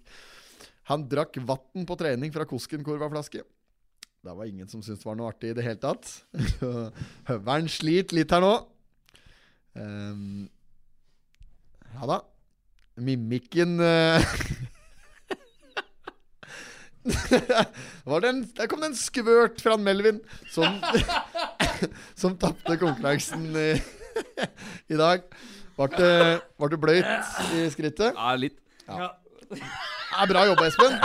Han drakk vann på trening fra Koskenkorva flaske. Det var ingen som syntes det var noe artig i det hele tatt. Så Høveren sliter litt her nå. Ehm, ja da. Mimikken eh. var det en, Der kom det en skvørt fra Melvin, som, som tapte konkurransen i, i dag. Ble det, ble det bløyt i skrittet?
Ja, litt.
Ja, bra jobba, Espen.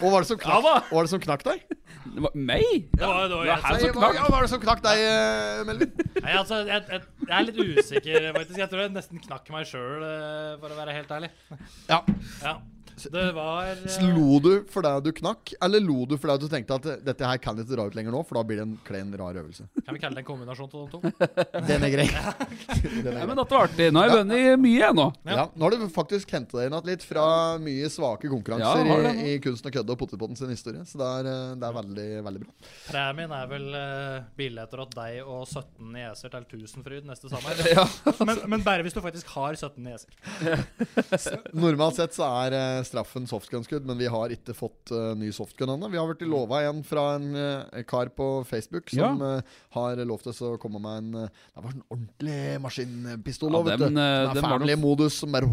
Og var det som knakk, hva var det som knakk deg?
Det var meg?
Det var, det var,
her
jeg,
som
Nei, hva, ja, hva var det som knakk deg, eh, Melvin?
Nei, altså, jeg, jeg, jeg er litt usikker, faktisk. Jeg tror jeg nesten knakk meg sjøl, for å være helt ærlig.
Ja.
Ja. Det var eh,
Lo du fordi du knakk, eller lo du fordi du tenkte at dette her kan jeg ikke dra ut lenger nå, for da blir det en klein, rar øvelse?
Kan vi kalle det en kombinasjon av de to?
Den er grei. Den
Nei,
er grei.
men dette var artig. Nå har jeg vunnet mye, jeg nå.
Ja, nå har du faktisk henta deg inn igjen litt fra mye svake
Ja,
konkurranser
har det.
i, i Kunsten og kødde og Pottipotten sin historie, så det er, eh, det er veldig, veldig bra.
Premien er vel uh, billetter åt deg og 17 nieser til Tusenfryd neste sommer.
Ja.
Men, men bare hvis du faktisk har 17 nieser.
Normalt sett så er eh, straffen softgunskudd, men vi har ikke fått eh, ny softgun ennå. Vi har blitt lova en fra en eh, kar på Facebook som eh, har lovt oss å komme med en eh, Det var en ordentlig maskinpistol.
Ja,
vet du.
dem, eh,
Som er
dem var
family
nok-
modus som bare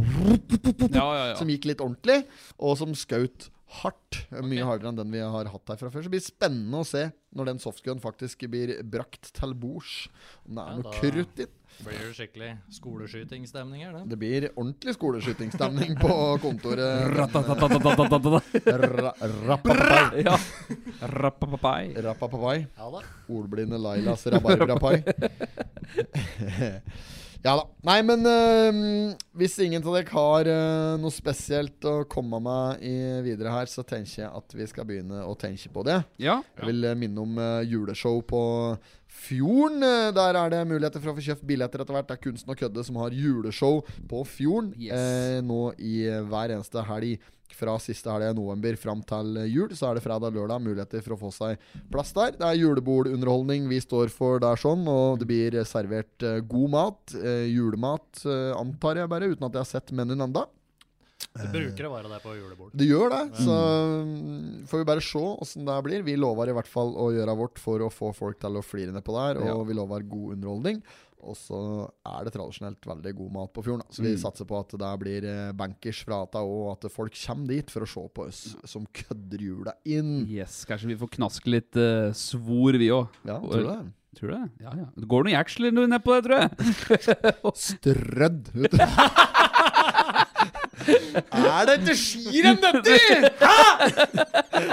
Ja, ja, ja.
Som gikk litt ordentlig, og som skjøt hardt. Mye hardere enn den vi har hatt her fra før. Så det blir spennende å se når den softgun faktisk blir brakt til bords. Om
Ja,
det er
da-
noe krutt i den.
Blir det skikkelig skoleskytingsstemning her, det?
Det blir ordentlig skoleskytingsstemning på kontoret.
Ratatatatatatatata.
Ra- Rappapapai.
Ja. Rappapapai.
Rappapapai.
Ja da.
Ordblinde Lailas rabarbrapai. ja da. Nei, men øhm, hvis ingen av dere har øh, noe spesielt å komme med i videre her, så tenker jeg at vi skal begynne å tenke på det.
Ja.
Jeg vil eh, minne om eh, juleshow på Fjorden. Eh, Der er det muligheter for å få kjøpt billetter etter hvert. Det er Kunsten og kødde som har juleshow på Fjorden
Yes.
eh, nå i eh, hver eneste helg. Fra siste helg i november fram til eh, jul, så er det fredag og lørdag muligheter for å få seg plass der. Det er julebordunderholdning vi står for der, sånn, og det blir eh, servert eh, god mat. eh, Julemat, eh, antar jeg bare, uten at jeg har sett menyen ennå.
Det bruker å være det på julebord.
Det gjør det, så mm, får vi bare se åssen det her blir. Vi lover i hvert fall å gjøre vårt for å få folk til å flire nedpå der, og
Ja.
vi lover god underholdning. Og så er det tradisjonelt veldig god mat på fjorden. da. Så vi
Mm.
satser på at det der blir eh, bankers fra ATA, og at folk kommer dit for å se på oss som kødder jula inn.
Yes, kanskje vi får knaske litt eh, svor, vi òg.
Ja, tror du det?
Tror du det? Ja, ja. Det går noen jacksler nedpå det, tror jeg.
Strødd! vet du. er det ikke skirenn, dette?! Hæ?!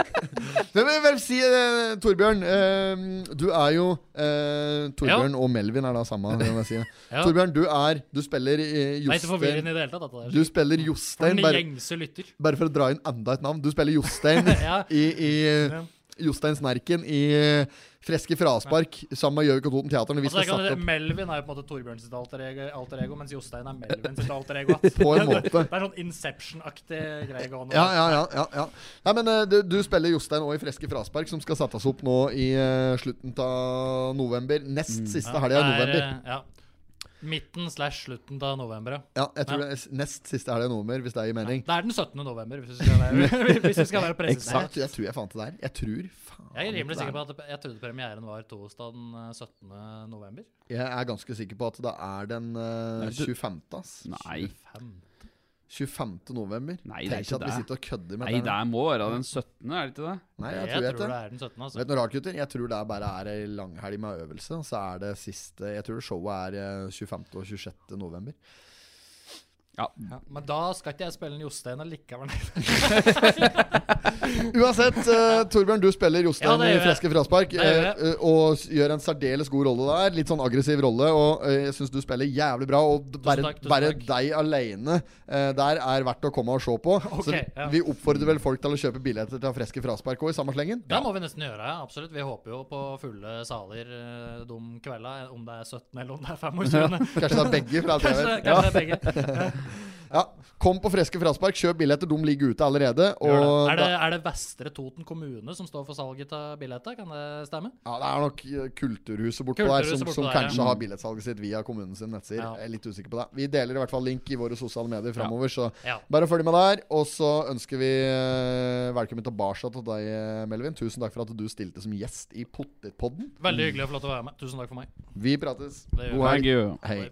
Men, men, vel, si, eh, Torbjørn, eh, du er jo eh, Torbjørn og Melvin er da samme. det må jeg Si.
Ja.
Torbjørn, du er Du spiller eh,
Det er ikke
Jostein.
forvirrende i det hele tatt, dette
Du
der.
spiller
For
Jostein,
den
bare,
gjengse lytter.
bare for å dra inn enda et navn. Du spiller Jostein
Ja.
i, i Jostein Snerken i eh, Freske fraspark sammen med Gjøvik og Toten Teateren. Vi
Altså,
skal
jeg kan,
sette opp
Melvin er jo på en måte Torbjørn sitt alter ego, alter ego mens Jostein er Melvin sitt alter ego. ass.
på en
Det
måte.
er sånn Inception-aktig greie gående.
Ja, ja, ja. ja, ja. Nei, men eh, du, du spiller Jostein òg i Freske Fraspark, som skal settes opp nå i eh, slutten av november. Nest siste helga i
Mm. det er,
november.
eh, ja. Midten slash slutten av november, ja.
Ja, jeg tror det er, nest siste er det nummer, hvis det gir mening.
Det er den 17. november, hvis vi skal være, hvis vi skal være presise.
Nei, jeg, tror- jeg tror jeg fant det der. Jeg tror faen
Jeg er rimelig
det er-
sikker på at det- jeg trodde premieren var torsdag den eh, 17. november.
Jeg er ganske sikker på at det er den eh,
Nei, du-
25. ass.
Nei,
Fem.
25. november.
Nei, det er
Tenk
ikke
at vi
det.
sitter og kødder med
Nei
det.
det må være den 17., er det ikke det?
Nei, jeg,
Jeg,
tror jeg
tror det
det.
er den 17. altså.
Vet du noe rart, gutter? Jeg tror det er bare er ei langhelg med øvelse. og Så er det siste Jeg tror showet er eh, 25. og 26. november.
Ja, men da skal ikke jeg spille en Jostein allikevel.
Uansett, eh, Torbjørn, du spiller
Ja,
Jostein
det gjør
i
jeg.
Freske fraspark.
Det gjør jeg.
eh, eh, og s- gjør en særdeles god rolle der. Litt sånn aggressiv rolle. Og eh, jeg syns du spiller jævlig bra. Og d- bare,
takk, tusen
bare
takk.
deg aleine eh, der er verdt å komme og se på.
Ok,
så vi,
ja.
vi oppfordrer vel folk til å kjøpe billetter til Freske fraspark òg, i samme slengen.
Det må vi nesten gjøre, ja, absolutt. Vi håper jo på fulle saler eh, de kvelda, om det er 17. eller om det er 25.
Kanskje det er begge. For alt jeg vet.
Kanskje, kanskje det er begge.
Ja, kom på Freske fraspark, kjøp billetter. De ligger ute allerede.
Gjør det.
Og
Er det, er det Vestre Toten kommune som står for salget av billetter? Kan det stemme?
Ja, det er nok eh, Kulturhuset bortpå der
Kulturhuset
som,
bortpå der,
som
ja.
kanskje har billettsalget sitt via kommunen sin nettsider.
Ja.
Jeg er litt usikker på det. Vi deler i hvert fall link i våre sosiale medier framover, så
Ja.
bare følg med der. Og så ønsker vi eh, velkommen tilbake til deg, eh, Melvin. Tusen takk for at du stilte som gjest i Pottitpodden.
Veldig hyggelig å få lov til å være med. Tusen takk for meg.
Vi prates.
Det gjør vi.
God helg.
you.
Hei.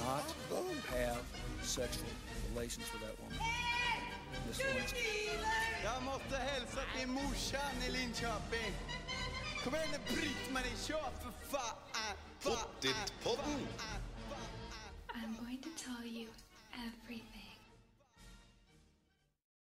Not have sexual relations with that woman. Miss Lewinsky.
Jag måste hälsa till morsan i Linköping. Kom igen nu Britt-Marie, kör för fan! Pottit-podden!
I'm going to tell you everything.